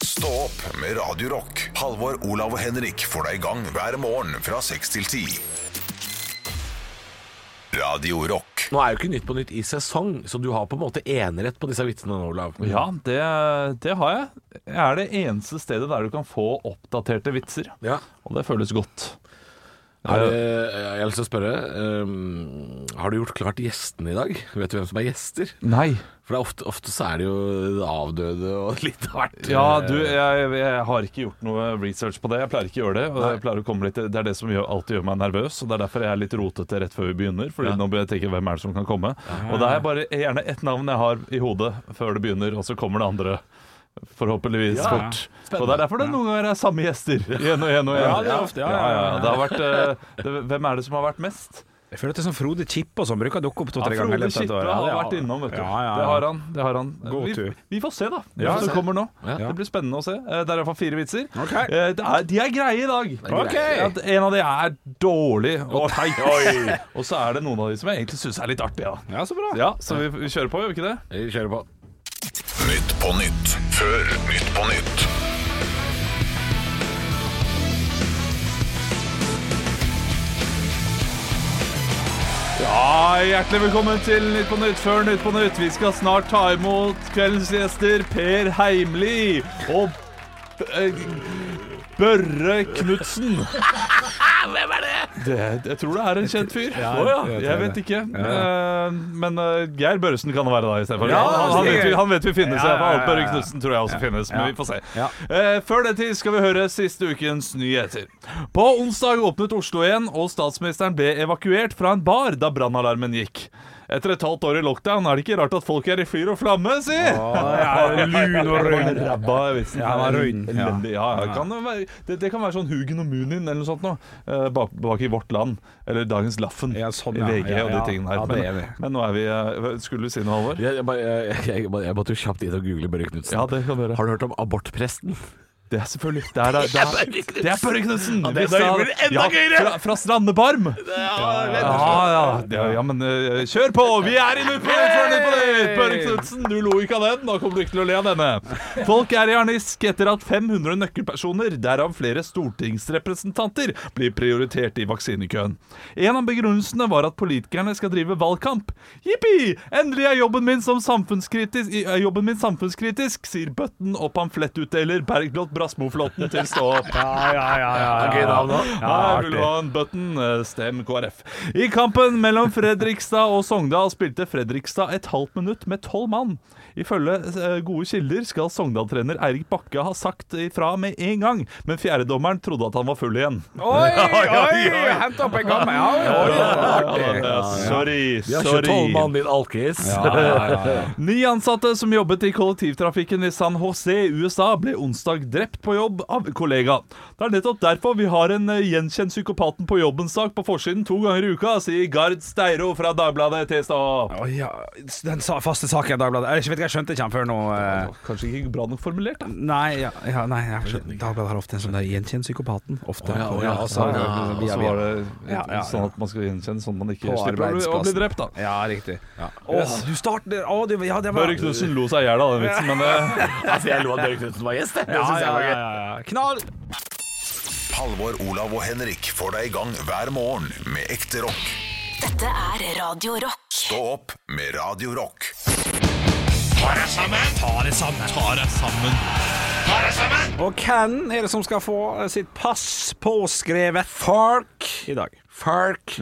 [SPEAKER 1] Stå Stå opp med Radio Rock. Halvor, Olav og Henrik får deg i gang hver morgen fra 6 til 10. Radio Rock.
[SPEAKER 4] Nå er jo ikke Nytt på Nytt i sesong, så du har på en måte enerett på disse vitsene nå, Olav.
[SPEAKER 3] Ja, det, det har jeg. Jeg er det eneste stedet der du kan få oppdaterte vitser. Og det føles godt.
[SPEAKER 4] Er det, eh, jeg har lyst til å spørre ehm, Har du gjort klart gjestene i dag? Vet du hvem som er gjester?
[SPEAKER 3] Nei.
[SPEAKER 4] For det er ofte, ofte så er det jo avdøde og [laughs] litt av hvert.
[SPEAKER 3] Ja, du, jeg, jeg har ikke gjort noe research på det. Jeg pleier ikke å gjøre det. Og jeg pleier å komme litt, det er det som gjør, alltid gjør meg nervøs, og det er derfor jeg er litt rotete rett før vi begynner. Fordi nå bør jeg tenke hvem er det som kan komme. Og det er bare gjerne ett navn jeg har i hodet før det begynner, og så kommer det andre. Forhåpentligvis
[SPEAKER 4] Ja.
[SPEAKER 3] fort.
[SPEAKER 4] Spennende.
[SPEAKER 3] Og det er derfor det noen ganger er samme gjester [laughs] igjen og igjen. og igjen
[SPEAKER 5] Ja, det er ofte, ja, ja,
[SPEAKER 3] ja,
[SPEAKER 5] ja.
[SPEAKER 3] Det har vært, eh, det, Hvem er det som har vært mest?
[SPEAKER 5] Jeg føler at det er sånn Frode Kippe og sånn bruker å dukke opp
[SPEAKER 3] Ja,
[SPEAKER 5] to-tre ganger. i
[SPEAKER 3] Frode
[SPEAKER 5] løpet av et år.
[SPEAKER 3] Kippe
[SPEAKER 5] Ja,
[SPEAKER 3] har
[SPEAKER 5] det
[SPEAKER 3] vært innom, vet du.
[SPEAKER 5] Ja, ja, ja.
[SPEAKER 3] Det har han. Det har han.
[SPEAKER 5] God
[SPEAKER 3] Vi,
[SPEAKER 5] tur.
[SPEAKER 3] vi får se, da. Ja,
[SPEAKER 5] Ja, vi får
[SPEAKER 3] det
[SPEAKER 5] se.
[SPEAKER 3] kommer nå.
[SPEAKER 4] Ja.
[SPEAKER 3] Det blir spennende å se. Eh, Det er iallfall fire vitser.
[SPEAKER 5] Ok.
[SPEAKER 3] Eh, det er, de er greie i dag.
[SPEAKER 5] Ok.
[SPEAKER 3] At en av de er dårlig og teit. [laughs] og så er det noen av de som jeg egentlig syns er litt artige. da.
[SPEAKER 5] Ja, så bra.
[SPEAKER 3] Ja, så vi, vi kjører på, gjør vi ikke det?
[SPEAKER 4] Vi kjører på.
[SPEAKER 1] Nytt på nytt før Nytt på nytt.
[SPEAKER 3] Ja, Hjertelig velkommen til Nytt på Nytt før Nytt på Nytt. Vi skal snart ta imot kveldens gjester Per Heimli og B- eh, Børre Knutsen. [laughs] Hvem er det? Jeg tror det er en kjent fyr. Å ja,
[SPEAKER 5] jeg tror
[SPEAKER 3] jeg vet
[SPEAKER 5] det.
[SPEAKER 3] ikke. Eh, Men eh, Geir Børresen kan det være da istedenfor.
[SPEAKER 5] Ja,
[SPEAKER 3] Han, han, vet vi- han vet vi finnes.
[SPEAKER 5] Ja, ja,
[SPEAKER 3] Ja,
[SPEAKER 5] ja, ja, ja.
[SPEAKER 3] Børre Knutsen tror jeg også finnes, men vi får se.
[SPEAKER 5] Ja.
[SPEAKER 3] Eh, Før den tid skal vi høre siste ukens nyheter. På onsdag åpnet Oslo igjen, og statsministeren ble evakuert fra en bar da brannalarmen gikk. Etter et halvt år i lockdown er det ikke rart at folk er i fyr og flamme, si!
[SPEAKER 5] ja,
[SPEAKER 3] [laughs]
[SPEAKER 5] lun og rund.
[SPEAKER 3] Rabba vitsen.
[SPEAKER 5] Ja, han er rund, ja.
[SPEAKER 3] Elendig. Ja, ja, kan det, være, det, det kan være sånn Hugen og Munin eller noe sånt nå, eh, bak, bak i Vårt Land. Eller Dagens Laffen
[SPEAKER 5] Ja, sånn,
[SPEAKER 3] i
[SPEAKER 5] ja.
[SPEAKER 3] VG
[SPEAKER 5] Ja,
[SPEAKER 3] og de
[SPEAKER 5] ja.
[SPEAKER 3] tingene her.
[SPEAKER 5] Ja, det er
[SPEAKER 3] men,
[SPEAKER 5] vi.
[SPEAKER 3] men nå er vi eh, Skulle du si noe, Halvor?
[SPEAKER 4] Jeg, jeg, bare- jeg, jeg, jeg måtte jo kjapt inn og google Børre Knutsen.
[SPEAKER 3] Ja, det kan du gjøre.
[SPEAKER 4] Har du hørt om abortpresten?
[SPEAKER 3] Det er selvfølgelig Det er, det er, det er, Børre Knutsen!
[SPEAKER 4] det er- det blir enda gøyere!
[SPEAKER 3] Fra, fra Strandebarm! Ja, ja, det- ja, men eh, kjør på! Vi er i Nytt på Nytt før Nytt på Nytt! Børre Knutsen, du lo ikke av den. Nå kommer du ikke til å le av denne. Folk er i harnisk etter at 500 nøkkelpersoner, derav flere stortingsrepresentanter, blir prioritert i vaksinekøen. En av begrunnelsene var at politikerne skal drive valgkamp. Jippi! Endelig er jobben min, som samfunnskritisk, i- er jobben min samfunnskritisk, sier bøtten og pamflettutdeler Bergljot Brasmoflåten til Stå opp.
[SPEAKER 5] Ja, ja, ja, ja, ja.
[SPEAKER 4] Gøy navn, da.
[SPEAKER 3] Ja, Rullan Button, eh, stem KrF. I kampen mellom Fredrikstad og Sogndal spilte Fredrikstad et halvt minutt med tolv mann. Ifølge eh, gode kilder skal Sogndal-trener Eirik Bakke ha sagt ifra med en gang, men fjerdedommeren trodde at han var full igjen.
[SPEAKER 5] [laughs] Oi, oi, hent opp en gammel. Ja, ja, ja, ja,
[SPEAKER 3] Ja, sorry,
[SPEAKER 4] Vi har ikke
[SPEAKER 3] sorry.
[SPEAKER 4] tolvmannen din alkis.
[SPEAKER 3] Ni ansatte som jobbet i kollektivtrafikken i San Jose i USA, ble onsdag drept på jobb av en kollega. Det er nettopp derfor vi har en eh, gjenkjent psykopaten på jobben-sak på forsiden to ganger i uka, sier Gard Steiro fra Dagbladet til stad.
[SPEAKER 5] Å, ja. Den sa- faste saken i Dagbladet. Jeg vet ikke, jeg skjønte ikke den før nå. eh.
[SPEAKER 3] Kanskje ikke bra nok formulert, da.
[SPEAKER 5] Nei, ja, ja, nei jeg skjønner ikke. Dagbladet har ofte en sånn der gjenkjenn psykopaten. Ofte.
[SPEAKER 4] Å, ja, å, ja.
[SPEAKER 5] altså,
[SPEAKER 4] Å, ja.
[SPEAKER 5] via-
[SPEAKER 3] Og så
[SPEAKER 5] via-
[SPEAKER 3] var det
[SPEAKER 5] Ja, ja, ja.
[SPEAKER 3] sånn at man skal gjenkjenne sånn man ikke
[SPEAKER 5] På
[SPEAKER 3] slipper å bli- å
[SPEAKER 5] arbeidsplassen.
[SPEAKER 3] bli drept, da.
[SPEAKER 5] Ja, riktig. Å, du starter Å, du Ja, det var
[SPEAKER 3] Børre Knutsen lo seg i hjel av den vitsen, men eh,
[SPEAKER 5] [laughs]
[SPEAKER 4] Altså, [laughs] jeg lo at Børre Knutsen var gjest, det. Det synes jeg var gøy.
[SPEAKER 5] ja. Knall!
[SPEAKER 1] Halvor, Olav og Henrik får deg i gang hver morgen med ekte rock.
[SPEAKER 2] Dette er Radio Rock.
[SPEAKER 1] Stå opp med Radio Rock.
[SPEAKER 5] Og hvem er det som skal få eh, sitt pass påskrevet Fark i dag?
[SPEAKER 4] Fark.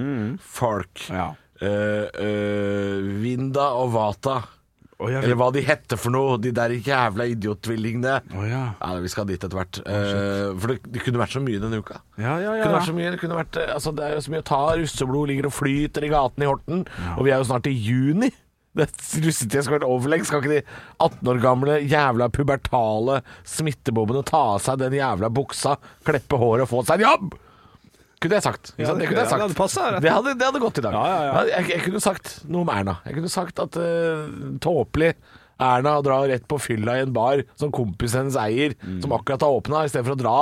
[SPEAKER 4] Fark.
[SPEAKER 5] Ja.
[SPEAKER 4] Eh, eh, Vinda og Vata.
[SPEAKER 5] Å, ja, vi-
[SPEAKER 4] Eller hva de heter for noe, de der jævla idiottvillingene.
[SPEAKER 5] Å, ja.
[SPEAKER 4] Ja, vi skal dit etter hvert. Eh, for det, det kunne vært så mye denne uka.
[SPEAKER 5] Ja, ja, ja,
[SPEAKER 4] Kunne
[SPEAKER 5] ja.
[SPEAKER 4] vært så mye, det, kunne vært, eh, altså, det er jo så mye å ta. Russeblod ligger og flyter i gatene i Horten. Og vi er jo snart i juni. [laughs] Det Russetida skal være over for lenge. Skal ikke de 18 år gamle jævla pubertale smittebobbene ta av seg den jævla buksa, kleppe håret og få seg en jobb? Kunne jeg sagt. ikke sant?
[SPEAKER 5] det-
[SPEAKER 4] det, kunne jeg
[SPEAKER 5] ja, det
[SPEAKER 4] sagt.
[SPEAKER 5] hadde passet, rett.
[SPEAKER 4] det, hadde, det hadde gått i dag.
[SPEAKER 5] Ja, ja, ja.
[SPEAKER 4] Jeg, jeg kunne sagt noe om Erna. Jeg kunne sagt at eh, tåpelig Erna drar rett på fylla i en bar som kompisen hennes eier,
[SPEAKER 5] Mm.
[SPEAKER 4] som akkurat har åpna, istedenfor å dra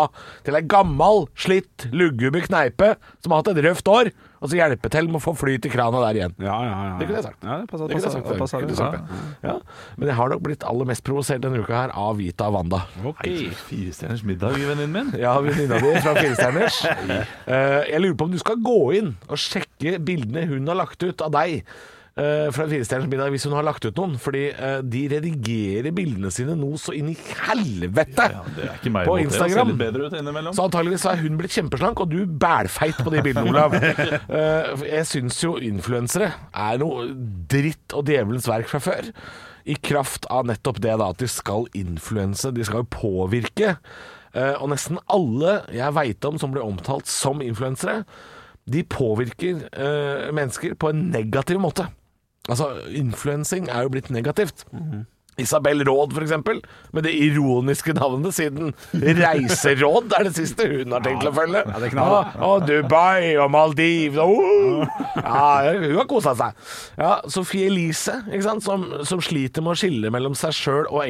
[SPEAKER 4] til ei gammal, slitt, lugguber kneipe som har hatt et røft år, og så hjelpe til med å få flyt i krana der igjen.
[SPEAKER 5] Ja, ja, ja.
[SPEAKER 4] Det kunne jeg sagt.
[SPEAKER 5] Ja, det passer,
[SPEAKER 4] Det kunne jeg sagt, det
[SPEAKER 5] passer,
[SPEAKER 4] kunne jeg
[SPEAKER 5] passer,
[SPEAKER 4] sagt det. Ja. Men jeg har nok blitt aller mest provosert denne uka her av Vita Wanda.
[SPEAKER 3] Nei, Firestjerners middag, venninnen min.
[SPEAKER 4] Ja, venninna di fra Firestjerners.
[SPEAKER 3] [laughs]
[SPEAKER 4] Eh, jeg lurer på om du skal gå inn og sjekke bildene hun har lagt ut av deg. eh, fra Firestjerners middag, hvis hun har lagt ut noen. Fordi eh, de redigerer bildene sine nå så inn i helvete
[SPEAKER 3] Ja, det er ikke meg
[SPEAKER 4] på
[SPEAKER 3] imot det. Jeg ser
[SPEAKER 4] Instagram.
[SPEAKER 3] litt bedre ut innimellom.
[SPEAKER 4] Så antageligvis er hun blitt kjempeslank, og du bælfeit på de bildene, Olav. Eh, Jeg syns jo influensere er noe dritt og djevelens verk fra før. I kraft av nettopp det da, at de skal influense, de skal jo påvirke. Eh, Og nesten alle jeg veit om som blir omtalt som influensere, de påvirker eh, mennesker på en negativ måte. Altså, influensing er jo blitt negativt. Isabel Råd, for eksempel, med det ironiske navnet siden Reiseråd er det siste hun har tenkt å følge. Å, å, Dubai og Maldivene oh! ja, Hun har kosa seg. Ja, Sophie Elise, ikke sant? Som, som sliter med å skille mellom seg sjøl og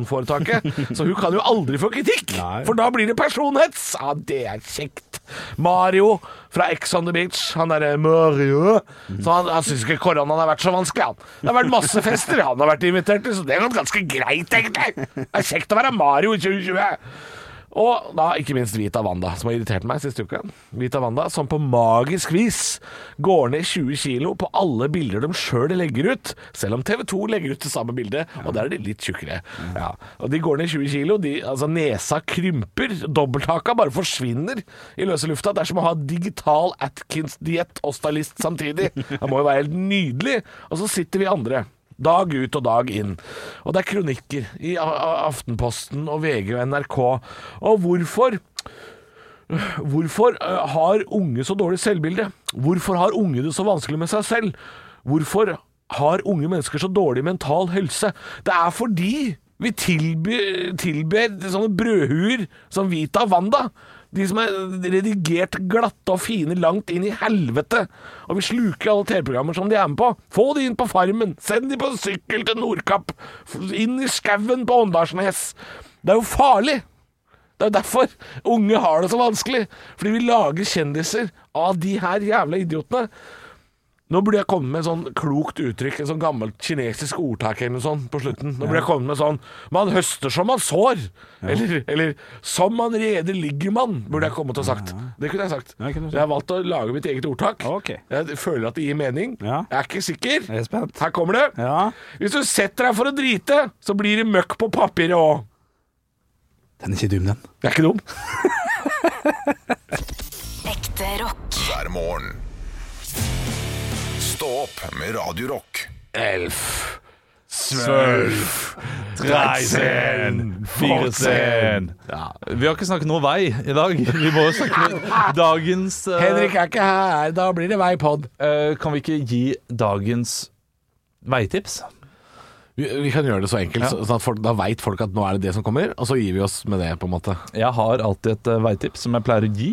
[SPEAKER 4] enkeltpersonforetaket. Så hun kan jo aldri få kritikk, for da blir det personhets! Ja, det er kjekt. Mario fra Ex on the Beach, han derre Mario Så han, han syns ikke koronaen har vært så vanskelig, han. Det har vært masse fester han har vært invitert til, så det er ganske greit, egentlig. Det er kjekt å være Mario i 2020. Og da ikke minst Vita Wanda, som har irritert meg siste uka. Vita Wanda, som på magisk vis går ned 20 kilo på alle bilder de sjøl legger ut, selv om TV 2 legger ut det samme bildet, og der er de litt tjukkere. Ja. Og de går ned 20 kilo, de, altså nesa krymper, dobbelthaka bare forsvinner i løse lufta. Det er som å ha digital Atkins-diett og stylist samtidig. Det må jo være helt nydelig. Og så sitter vi andre. Dag ut og dag inn. Og det er kronikker i A- A- Aftenposten og VG og NRK. Og hvorfor Hvorfor eh, har unge så dårlig selvbilde? Hvorfor har unge det så vanskelig med seg selv? Hvorfor har unge mennesker så dårlig mental helse? Det er fordi vi tilbyr, tilber sånne brødhuer som Vita Wanda. De som er redigert glatte og fine langt inn i helvete. Og vi sluker alle TV-programmer som de er med på. Få de inn på Farmen! Send de på sykkel til Nordkapp! F- Inn i skauen på Åndalsnes! Det er jo farlig! Det er jo derfor unge har det så vanskelig. Fordi vi lager kjendiser av de her jævla idiotene. Nå burde jeg komme med et sånn klokt uttrykk, et sånn gammelt kinesisk ordtak eller noe sånt på slutten. Nå burde jeg komme med sånn 'man høster som man sår', eller, eller 'som man reder ligger man', burde jeg komme til å ha sagt. Det kunne jeg sagt.
[SPEAKER 5] Ja, det kunne du sagt.
[SPEAKER 4] Jeg har valgt å lage mitt eget ordtak.
[SPEAKER 5] Ok.
[SPEAKER 4] Jeg føler at det gir mening.
[SPEAKER 5] Ja.
[SPEAKER 4] Jeg er ikke sikker.
[SPEAKER 5] Jeg er spent.
[SPEAKER 4] Her kommer det.
[SPEAKER 5] Ja.
[SPEAKER 4] Hvis du setter deg for å drite, så blir det møkk på papiret òg.
[SPEAKER 5] Den er ikke dum, den.
[SPEAKER 4] Det er ikke dumt.
[SPEAKER 2] Ekte rock.
[SPEAKER 1] hver morgen. Stå opp med Radio Rock.
[SPEAKER 4] Elf. Svølf.
[SPEAKER 3] Dreisen, Firesen.
[SPEAKER 4] Ja.
[SPEAKER 3] Vi har ikke snakket noe vei i dag. Vi må jo snakke med dagens eh,
[SPEAKER 4] Henrik er ikke her, da blir det veipod.
[SPEAKER 3] eh, Kan vi ikke gi dagens veitips?
[SPEAKER 4] Vi, vi kan gjøre det så enkelt, så- sånn at folk, da veit folk at nå er det det som kommer, og så gir vi oss med det, på en måte.
[SPEAKER 3] Jeg har alltid et eh, veitips som jeg pleier å gi.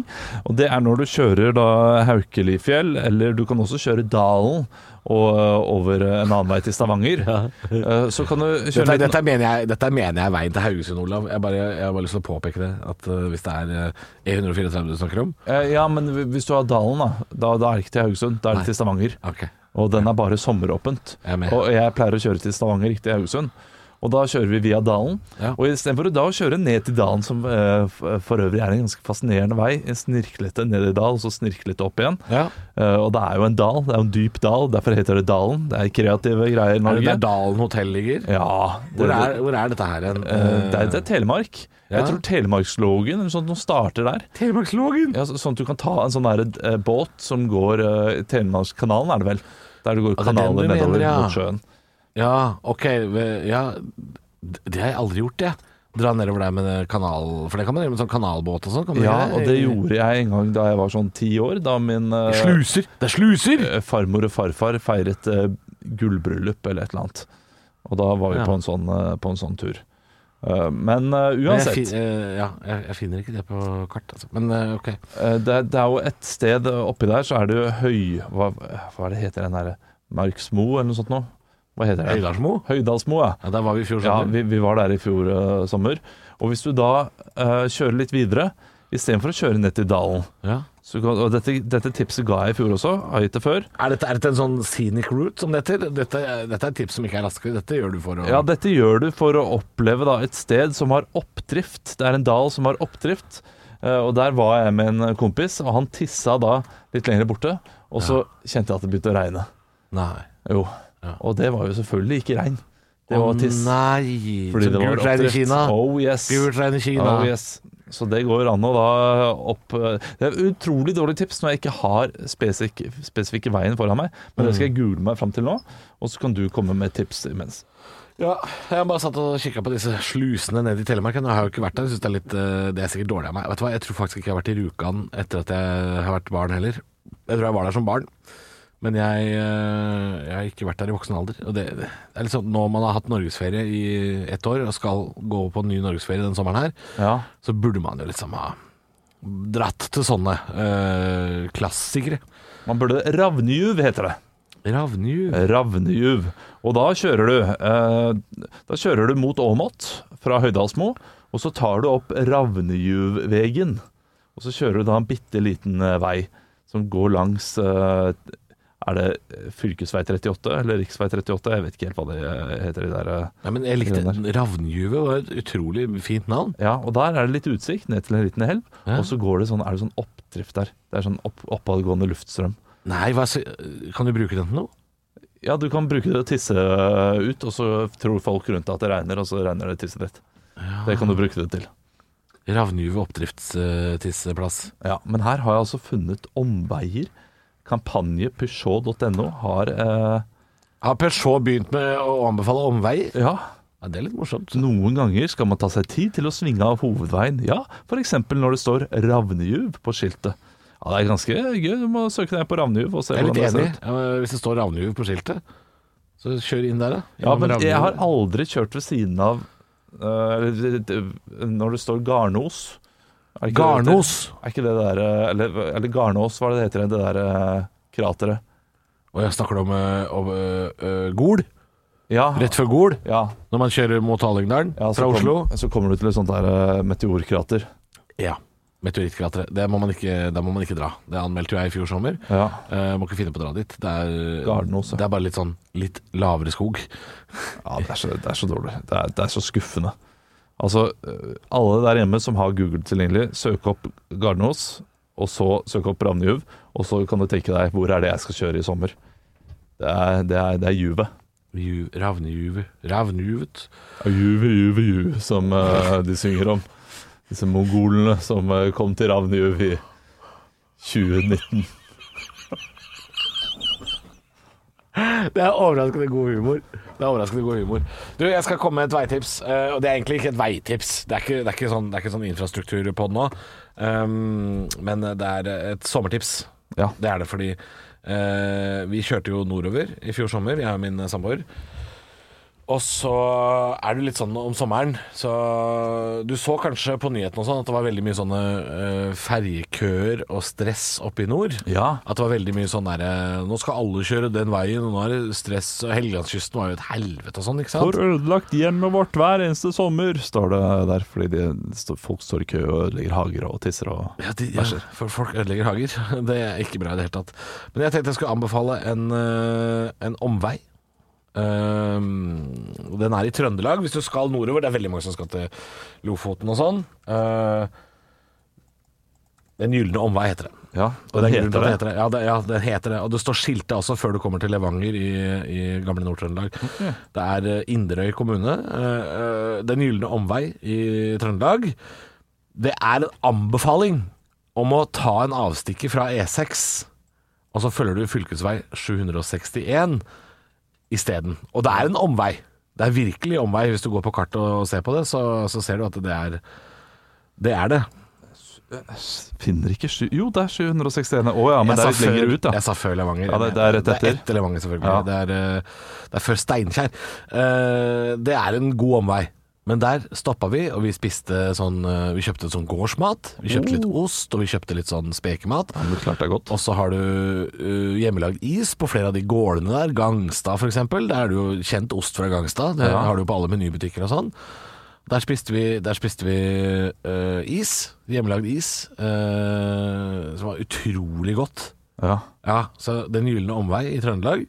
[SPEAKER 3] Og det er når du kjører da Haukelifjell, eller du kan også kjøre Dalen og eh, over eh, en annen vei til Stavanger. Eh, Så kan du kjøre
[SPEAKER 4] Dette,
[SPEAKER 3] litt-
[SPEAKER 4] dette, mener jeg, dette mener jeg er veien til Haugesund, Olav. Jeg, bare, jeg har bare lyst til å påpeke det. At eh, hvis det er eh, E134 du snakker om
[SPEAKER 3] Eh, Ja, men hvis du har Dalen, da, da, da er det ikke til Haugesund, da er
[SPEAKER 4] Nei.
[SPEAKER 3] det til Stavanger.
[SPEAKER 4] Ok.
[SPEAKER 3] Og den er bare sommeråpent.
[SPEAKER 4] Jeg er med.
[SPEAKER 3] Og jeg pleier å kjøre til Stavanger, ikke til Haugesund. Og da kjører vi via Dalen.
[SPEAKER 4] Ja.
[SPEAKER 3] Og istedenfor da å kjøre ned til Dalen, som eh, f- for øvrig er en ganske fascinerende vei, en snirklete ned i dal, og så snirklete opp igjen.
[SPEAKER 4] Ja.
[SPEAKER 3] Eh, og det er jo en dal, det er jo en dyp dal, derfor heter det Dalen. Det er kreative greier i
[SPEAKER 4] Er det
[SPEAKER 3] Norge.
[SPEAKER 4] der Dalen hotell ligger?
[SPEAKER 3] ja,
[SPEAKER 4] Hvor er, hvor er dette her hen?
[SPEAKER 3] eh, det, er, det er Telemark.
[SPEAKER 4] Ja.
[SPEAKER 3] Jeg tror Telemarkslogen eller sånt, noe starter der.
[SPEAKER 4] Telemarkslogen!
[SPEAKER 3] Ja, så, sånn at du kan ta en sånn der, eh, båt som går eh, Telemarkskanalen, er det vel? Der det går
[SPEAKER 4] det er den
[SPEAKER 3] kanaler
[SPEAKER 4] du mener,
[SPEAKER 3] nedover
[SPEAKER 4] ja.
[SPEAKER 3] mot sjøen.
[SPEAKER 4] Ja, ok. ve- Ja, det har jeg aldri gjort, jeg. Dra nedover der med det kanal... For det kan man gjøre med sånn kanalbåt og sånn. kan man
[SPEAKER 3] Ja,
[SPEAKER 4] ikke
[SPEAKER 3] og det gjorde jeg en gang da jeg var sånn ti år. Da min eh,
[SPEAKER 4] Sluser! Det er sluser!
[SPEAKER 3] eh, farmor og farfar feiret eh, gullbryllup eller et eller annet. Og da var vi
[SPEAKER 4] Ja.
[SPEAKER 3] på, en sånn, eh, på en sånn tur. Eh, men eh,
[SPEAKER 4] Men jeg,
[SPEAKER 3] uansett,
[SPEAKER 4] fin, eh, ja, jeg, jeg finner ikke det på kart, altså. Men eh, ok.
[SPEAKER 3] eh, det, er- det er jo et sted oppi der, så er det jo høy... Hva, hva er det heter den derre Marksmo eller noe sånt noe? Hva heter det?
[SPEAKER 4] Høydalsmo?
[SPEAKER 3] Høydalsmo, ja.
[SPEAKER 4] Ja, der var vi i fjor
[SPEAKER 3] Ja,
[SPEAKER 4] sommer.
[SPEAKER 3] vi, vi var der i fjor eh, sommer. Og hvis du da eh, kjører litt videre, istedenfor å kjøre ned til dalen,
[SPEAKER 4] Ja.
[SPEAKER 3] Så, kan- og dette, dette tipset ga jeg i fjor også. Har gitt det før.
[SPEAKER 4] Er dette, er dette en sånn scenic route, som det heter? Dette, dette er et tips som ikke er raskere. Dette gjør du for å
[SPEAKER 3] Ja, dette gjør du for å oppleve da, et sted som har oppdrift. Det er en dal som har oppdrift. Eh, Og der var jeg med en kompis, og han tissa da litt lenger borte. Og så kjente jeg at det begynte å regne.
[SPEAKER 4] Nei.
[SPEAKER 3] Jo. Og det var jo selvfølgelig ikke regn. Det
[SPEAKER 4] Å
[SPEAKER 3] var tiss.
[SPEAKER 4] nei!
[SPEAKER 3] Fordi
[SPEAKER 4] Så
[SPEAKER 3] det var
[SPEAKER 4] gult regn i
[SPEAKER 3] oppdrift.
[SPEAKER 4] Kina.
[SPEAKER 3] Oh yes.
[SPEAKER 4] Gult regn i Kina.
[SPEAKER 3] Oh yes. Så det går an å da opp Det er utrolig dårlig tips når jeg ikke har spesik, spesifikke veien foran meg, men det skal jeg google meg fram til nå, og så kan du komme med tips imens.
[SPEAKER 4] Ja, jeg har bare satt og kikka på disse slusene nede i Telemark. Jeg har jo ikke vært der. Jeg synes det, er litt, eh, det er sikkert dårlig av meg. Vet du hva, Jeg tror faktisk ikke jeg har vært i Rjukan etter at jeg har vært barn heller. Jeg tror jeg var der som barn, men jeg, eh, jeg har ikke vært der i voksen alder. Og det, det er litt sånn, Når man har hatt norgesferie i ett år og skal gå på en ny norgesferie den sommeren her,
[SPEAKER 3] Ja.
[SPEAKER 4] så burde man jo liksom ha dratt til sånne eh, klassikere.
[SPEAKER 3] Man burde Ravnjuv heter det.
[SPEAKER 4] Ravnjuv.
[SPEAKER 3] Ravnejuv. Og da kjører du eh, Da kjører du mot Åmot fra Høydalsmo, og så tar du opp Ravnejuvvegen. Og så kjører du da en bitte liten eh, vei som går langs eh, Er det fylkesvei 38 eller riksvei 38? Jeg vet ikke helt hva det eh, heter. De der, eh.
[SPEAKER 4] Nei, men jeg likte Ravnjuvet var et utrolig fint navn.
[SPEAKER 3] ja, og der er det litt utsikt ned til en liten helv,
[SPEAKER 4] Ja.
[SPEAKER 3] og så går det sånn, er det sånn oppdrift der. Det er sånn opp, oppadgående luftstrøm.
[SPEAKER 4] Nei, hva, så- kan du bruke den til noe?
[SPEAKER 3] Ja, du kan bruke det til å tisse øh, ut, og så tror folk rundt deg at det regner, og så regner det tisset ditt. Det kan du bruke det til.
[SPEAKER 4] Ravnjuve eh, oppdriftstidsplass.
[SPEAKER 3] Ja, Men her har jeg altså funnet omveier. Kampanje Peugeot.no har eh,
[SPEAKER 4] Har Peugeot begynt med å anbefale omveier?
[SPEAKER 3] Ja,
[SPEAKER 4] Ja, det er litt morsomt.
[SPEAKER 3] noen ganger skal man ta seg tid til å svinge av hovedveien. Ja, f.eks. når det står Ravnejuv på skiltet. Ja, det er ganske gøy. Du må søke deg på Ravnejuv og se
[SPEAKER 4] Jeg er
[SPEAKER 3] hvordan
[SPEAKER 4] litt
[SPEAKER 3] det
[SPEAKER 4] enig.
[SPEAKER 3] ser ut.
[SPEAKER 4] Ja, men Hvis det står Ravnjuve på skiltet, så kjør inn der, da.
[SPEAKER 3] Ja,
[SPEAKER 4] Innom
[SPEAKER 3] men jeg
[SPEAKER 4] Ravnjuve.
[SPEAKER 3] har aldri kjørt ved siden av eh, eller, Når det står Garnos er ikke det det heter?
[SPEAKER 4] Garnos!
[SPEAKER 3] Er ikke det der eh, Eller, eller Garnås, hva er det det heter? Det der eh, krateret.
[SPEAKER 4] Og jeg snakker om, eh, om eh, eh, Gol.
[SPEAKER 3] Ja.
[SPEAKER 4] Rett før Gol,
[SPEAKER 3] ja,
[SPEAKER 4] når man kjører mot Hallingdalen
[SPEAKER 3] ja, så
[SPEAKER 4] fra
[SPEAKER 3] kom-
[SPEAKER 4] Oslo.
[SPEAKER 3] Så kommer du til et sånt der eh, meteorkrater.
[SPEAKER 4] Ja. Meteorittkrateret. Det må man ikke, der må man ikke dra. Det anmeldte jo jeg i fjor sommer.
[SPEAKER 3] Ja.
[SPEAKER 4] Eh, må ikke finne på å dra dit. Det er,
[SPEAKER 3] Garnos, ja.
[SPEAKER 4] det er bare litt sånn litt lavere skog.
[SPEAKER 3] ja det, er så, det er så dårlig. Det er, det er så skuffende. Altså, eh, alle der hjemme som har Google tilgjengelig, søk opp Garnås, og så søk opp Ravnejuv, og så kan du tenke deg hvor er det jeg skal kjøre i sommer. Det er, det er, det er juvet.
[SPEAKER 4] Ju- Ravnejuve. Ravnjuvet.
[SPEAKER 3] Juve, juve, juve, som eh, de synger om. Disse mongolene som eh, kom til Ravnjuv i 2019.
[SPEAKER 4] Det er overraskende god humor. Det er overraskende god humor. Du, jeg skal komme med et veitips, eh, og det er egentlig ikke et veitips. Det er ikke, det er ikke sånn, det er ikke sånn infrastruktur på det nå, um, men det er et sommertips.
[SPEAKER 3] Ja.
[SPEAKER 4] Det er det fordi eh, vi kjørte jo nordover i fjor sommer, jeg og min samboer. Og så er det litt sånn om sommeren Så du så kanskje på nyheten og sånn At det var veldig mye sånne uh, ferjekøer og stress oppe i nord
[SPEAKER 3] Ja.
[SPEAKER 4] At det var veldig mye sånn der eh, Nå skal alle kjøre den veien Og nå er det stress Og Helgelandskysten var jo et helvete og sånn, ikke sant?
[SPEAKER 3] Får ødelagt hjemmet vårt hver eneste sommer, står det der. Fordi de, står- folk står i kø og ødelegger hager og tisser og
[SPEAKER 4] Ja, de, ja, for folk ødelegger hager. [laughs] Det er ikke bra i det hele tatt. Men jeg tenkte jeg skulle anbefale en, eh, en omvei. Ehm, og den er i Trøndelag, hvis du skal nordover. Det er veldig mange som skal til Lofoten og sånn. Eh, den gylne omvei heter den.
[SPEAKER 3] Ja,
[SPEAKER 4] Og det er grunnen til at
[SPEAKER 3] heter det.
[SPEAKER 4] den heter det. Ja, det, ja, det heter det. Og det står skiltet også før du kommer til Levanger i, i gamle Nord-Trøndelag. Det er eh, Inderøy kommune. eh, eh, Den gylne omvei i Trøndelag. Det er en anbefaling om å ta en avstikker fra E6, og så følger du fylkesvei 761 isteden. Og det er en omvei. Det er virkelig omvei. Hvis du går på kartet og ser på det, så, så ser du at det er det. Er det.
[SPEAKER 3] Finner ikke sju Jo, det er 761. Å ja, men det er
[SPEAKER 4] jeg
[SPEAKER 3] litt
[SPEAKER 4] sa før-
[SPEAKER 3] lenger ut,
[SPEAKER 4] Jeg
[SPEAKER 3] ja.
[SPEAKER 4] sa før Levanger.
[SPEAKER 3] Ja, det- det er rett
[SPEAKER 4] Det
[SPEAKER 3] etter.
[SPEAKER 4] er etter Levanger, selvfølgelig.
[SPEAKER 3] Ja.
[SPEAKER 4] Det, er, eh, det er før Steinkjer. Eh, Det er en god omvei. Men der stoppa vi, og vi spiste sånn eh, Vi kjøpte sånn gårdsmat. Vi kjøpte litt
[SPEAKER 3] Oh.
[SPEAKER 4] ost, og vi kjøpte litt sånn spekemat.
[SPEAKER 3] Men klart det er godt.
[SPEAKER 4] Og så har du eh, hjemmelagd is på flere av de gårdene der. Gangstad, f.eks. Der er det jo kjent ost fra Gangstad. Det
[SPEAKER 3] Ja.
[SPEAKER 4] har du jo på alle menybutikker og sånn. Der spiste vi, der spiste vi eh, is. Hjemmelagd is. eh, som var utrolig godt.
[SPEAKER 3] Ja.
[SPEAKER 4] Ja, så Den gylne omvei i Trøndelag.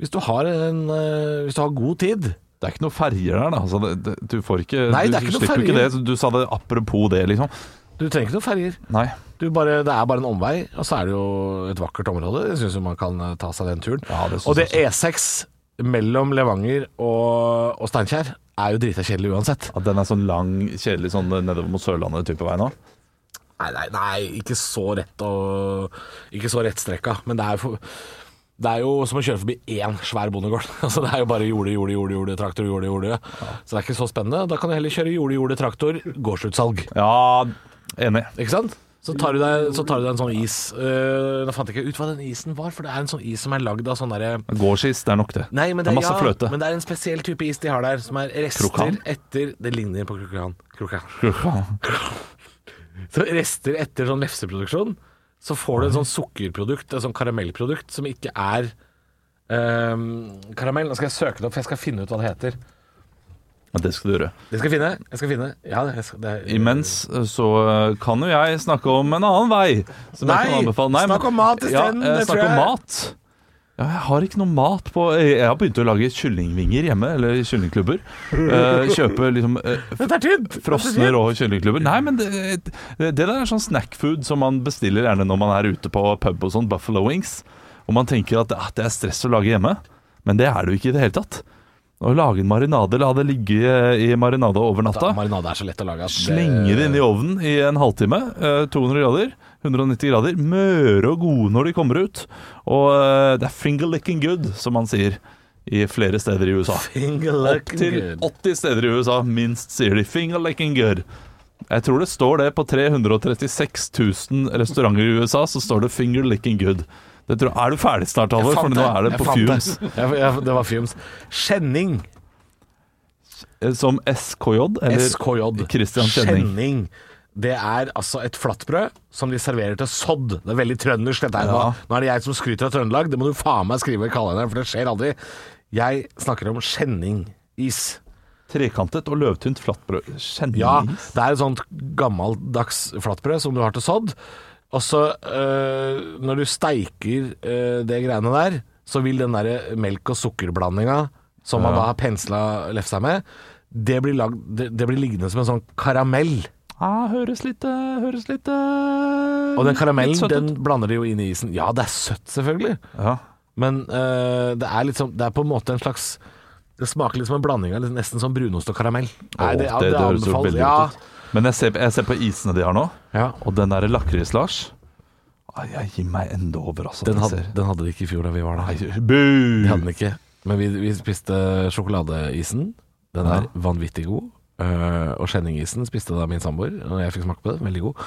[SPEAKER 4] Hvis du har, en, eh, hvis du har god tid
[SPEAKER 3] Det er ikke noe ferger der, da. Altså, det, det, du får ikke
[SPEAKER 4] Nei, det er
[SPEAKER 3] du-
[SPEAKER 4] ikke
[SPEAKER 3] Du
[SPEAKER 4] noe
[SPEAKER 3] slipper jo ikke det.
[SPEAKER 4] ferger.
[SPEAKER 3] så Du sa det apropos det, liksom.
[SPEAKER 4] Du trenger ikke noen ferger.
[SPEAKER 3] Nei.
[SPEAKER 4] Du bare, det er bare en omvei, og så er det jo et vakkert område. Jeg syns man kan eh, ta seg den turen.
[SPEAKER 3] det synes
[SPEAKER 4] og det E6 mellom Levanger og, og Steinkjer er jo drita kjedelig uansett.
[SPEAKER 3] At den er sånn lang, kjedelig sånn nedover mot Sørlandet type vei nå.
[SPEAKER 4] Nei, nei, nei ikke så rett og Ikke så rettstrekka, men det er jo for, det er jo som å kjøre forbi én svær bondegård. [laughs] Altså, det er jo bare jorde, jorde, jorde, jorde, traktor, jorde, jorde. Så det er ikke så spennende. Da kan du heller kjøre jorde, jorde, traktor, gårdsutsalg.
[SPEAKER 3] Ja, enig.
[SPEAKER 4] Ikke sant? Så tar du deg, så tar du deg en sånn is. Eh, nå fant jeg ikke ut hva den isen var, for det er en sånn is som er lagd av sånn derre
[SPEAKER 3] Gårdsis, det er nok det.
[SPEAKER 4] Nei, men det, er,
[SPEAKER 3] masse
[SPEAKER 4] ja,
[SPEAKER 3] fløte.
[SPEAKER 4] men det er en spesiell type is de har der, som er rester
[SPEAKER 3] Krokan?
[SPEAKER 4] etter Det ligner på krokan. krokan.
[SPEAKER 3] [laughs] Ja,
[SPEAKER 4] Så rester etter sånn lefseproduksjon, så får du en sånn sukkerprodukt, et sånn karamellprodukt, som ikke er ehm, karamell. Nå skal jeg søke det opp, for jeg skal finne ut hva det heter.
[SPEAKER 3] det skal du gjøre.
[SPEAKER 4] Det skal jeg finne. Jeg skal finne. Ja, det- jeg skal, det er,
[SPEAKER 3] Imens så eh, kan jo jeg snakke om en annen vei. som jeg
[SPEAKER 4] Nei,
[SPEAKER 3] kan anbefale. Nei,
[SPEAKER 4] snakk om mat isteden,
[SPEAKER 3] Ja, eh,
[SPEAKER 4] det tror
[SPEAKER 3] snakk om
[SPEAKER 4] jeg.
[SPEAKER 3] mat. Ja, jeg har ikke noe mat på Jeg jeg har begynt å lage kyllingvinger hjemme, eller
[SPEAKER 4] [laughs]
[SPEAKER 3] kyllingklubber. Eh, kjøpe liksom eh,
[SPEAKER 4] Dette er tynt!
[SPEAKER 3] Frosne rå kyllingklubber. Nei, men det, det der er sånn snackfood som man bestiller gjerne når man er ute på pub og sånn, Buffalo Wings. Og man tenker at ah, det er stress å lage hjemme, men det er det jo ikke i det hele tatt. Å lage en marinade, la det ligge i marinade over
[SPEAKER 4] Da,
[SPEAKER 3] natta.
[SPEAKER 4] marinade er så lett å lage. at det-
[SPEAKER 3] Slenge det inn i ovnen i en halvtime. eh, 200 grader. 190 grader. Møre og gode når de kommer ut. Og eh, det er 'finger licking good', som man sier i flere steder i USA.
[SPEAKER 4] Finger
[SPEAKER 3] Opp
[SPEAKER 4] looking
[SPEAKER 3] til
[SPEAKER 4] good.
[SPEAKER 3] 80 steder i USA minst sier de 'finger licking good'. Jeg tror det står det på 336 000 restauranter i USA, så står det 'finger licking good'. Det tror, er du ferdig snart, Halvor? For nå er det
[SPEAKER 4] Jeg
[SPEAKER 3] på
[SPEAKER 4] fant
[SPEAKER 3] fumes.
[SPEAKER 4] Jeg, jeg, det var fumes. Skjenning.
[SPEAKER 3] eh, Som SKJ, eller
[SPEAKER 4] SKJ.
[SPEAKER 3] Christian Kjenning.
[SPEAKER 4] Det er altså et flatbrød som de serverer til sodd. Det er veldig trøndersk, dette her.
[SPEAKER 3] Ja.
[SPEAKER 4] Nå, nå er det jeg som skryter av Trøndelag. Det må du faen meg skrive i kalenderen, for det skjer aldri. Jeg snakker om skjenning-is.
[SPEAKER 3] Trekantet og løvtynt flatbrød. Kjenning.
[SPEAKER 4] Ja, det er et sånt gammeldags flatbrød som du har til sodd. Og så, øh, når du steiker øh, det greiene der, så vil den der melk- og sukkerblandinga som man da har pensla lefsa med, det blir, lagd, det, det blir liggende som en sånn karamell.
[SPEAKER 3] Ah, høres litt, eh, høres litt eh,
[SPEAKER 4] Og den karamellen,
[SPEAKER 3] litt søtt ut.
[SPEAKER 4] den blander de jo inn i isen. Ja, det er søtt, selvfølgelig.
[SPEAKER 3] ja.
[SPEAKER 4] Men eh, det, er litt sånn- det er på en måte en slags Det smaker litt som en blanding av litt- nesten sånn brunost og karamell. Nei,
[SPEAKER 3] Åh, det, det høres jo
[SPEAKER 4] anbefales.
[SPEAKER 3] veldig
[SPEAKER 4] ja.
[SPEAKER 3] godt ut. Men jeg ser, jeg ser på isene de har nå,
[SPEAKER 4] Ja.
[SPEAKER 3] og den derre lakris, Lars ah, Jeg gir meg enda over, altså.
[SPEAKER 4] Den,
[SPEAKER 3] jeg
[SPEAKER 4] hadde,
[SPEAKER 3] ser.
[SPEAKER 4] den hadde de ikke i fjor da vi var der.
[SPEAKER 3] Nei, bu!
[SPEAKER 4] Vi hadde den ikke. Men vi, vi spiste sjokoladeisen. Den er vanvittig god. Eh, og skjenningisen spiste da min samboer, og jeg fikk smake på det. Veldig god.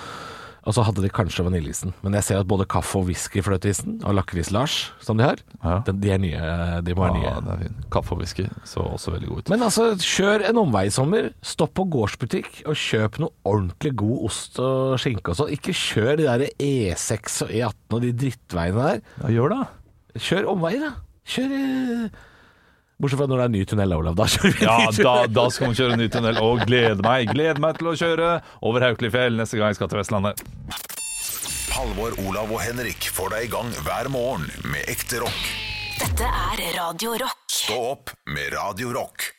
[SPEAKER 4] Og så hadde de kanskje vaniljeisen. Men jeg ser at både kaffe- og whiskyfløteisen og lakris-Lars, som de har,
[SPEAKER 3] Ja.
[SPEAKER 4] den, de er nye. De må være nye.
[SPEAKER 3] Ja, det er fint. Kaffe og whisky så også veldig god ut.
[SPEAKER 4] Men altså, kjør en omvei i sommer. Stopp på gårdsbutikk og kjøp noe ordentlig god ost og skinke og sånn. Ikke kjør de der E6 og E18 og de drittveiene der.
[SPEAKER 3] ja, gjør det.
[SPEAKER 4] Kjør omveier, da. Kjør eh, Bortsett fra når det er ny tunnel, Olav. Da kjører vi
[SPEAKER 3] Ja,
[SPEAKER 4] [laughs] ny
[SPEAKER 3] da,
[SPEAKER 4] tunnel.
[SPEAKER 3] da skal man kjøre ny tunnel. Og gleder meg gleder meg til å kjøre over Haukelifjell neste gang jeg skal til Vestlandet.
[SPEAKER 1] Halvor, Olav og Henrik får deg i gang hver morgen med ekte rock.
[SPEAKER 2] Dette er Radio Rock.
[SPEAKER 1] Stå opp med Radio Rock.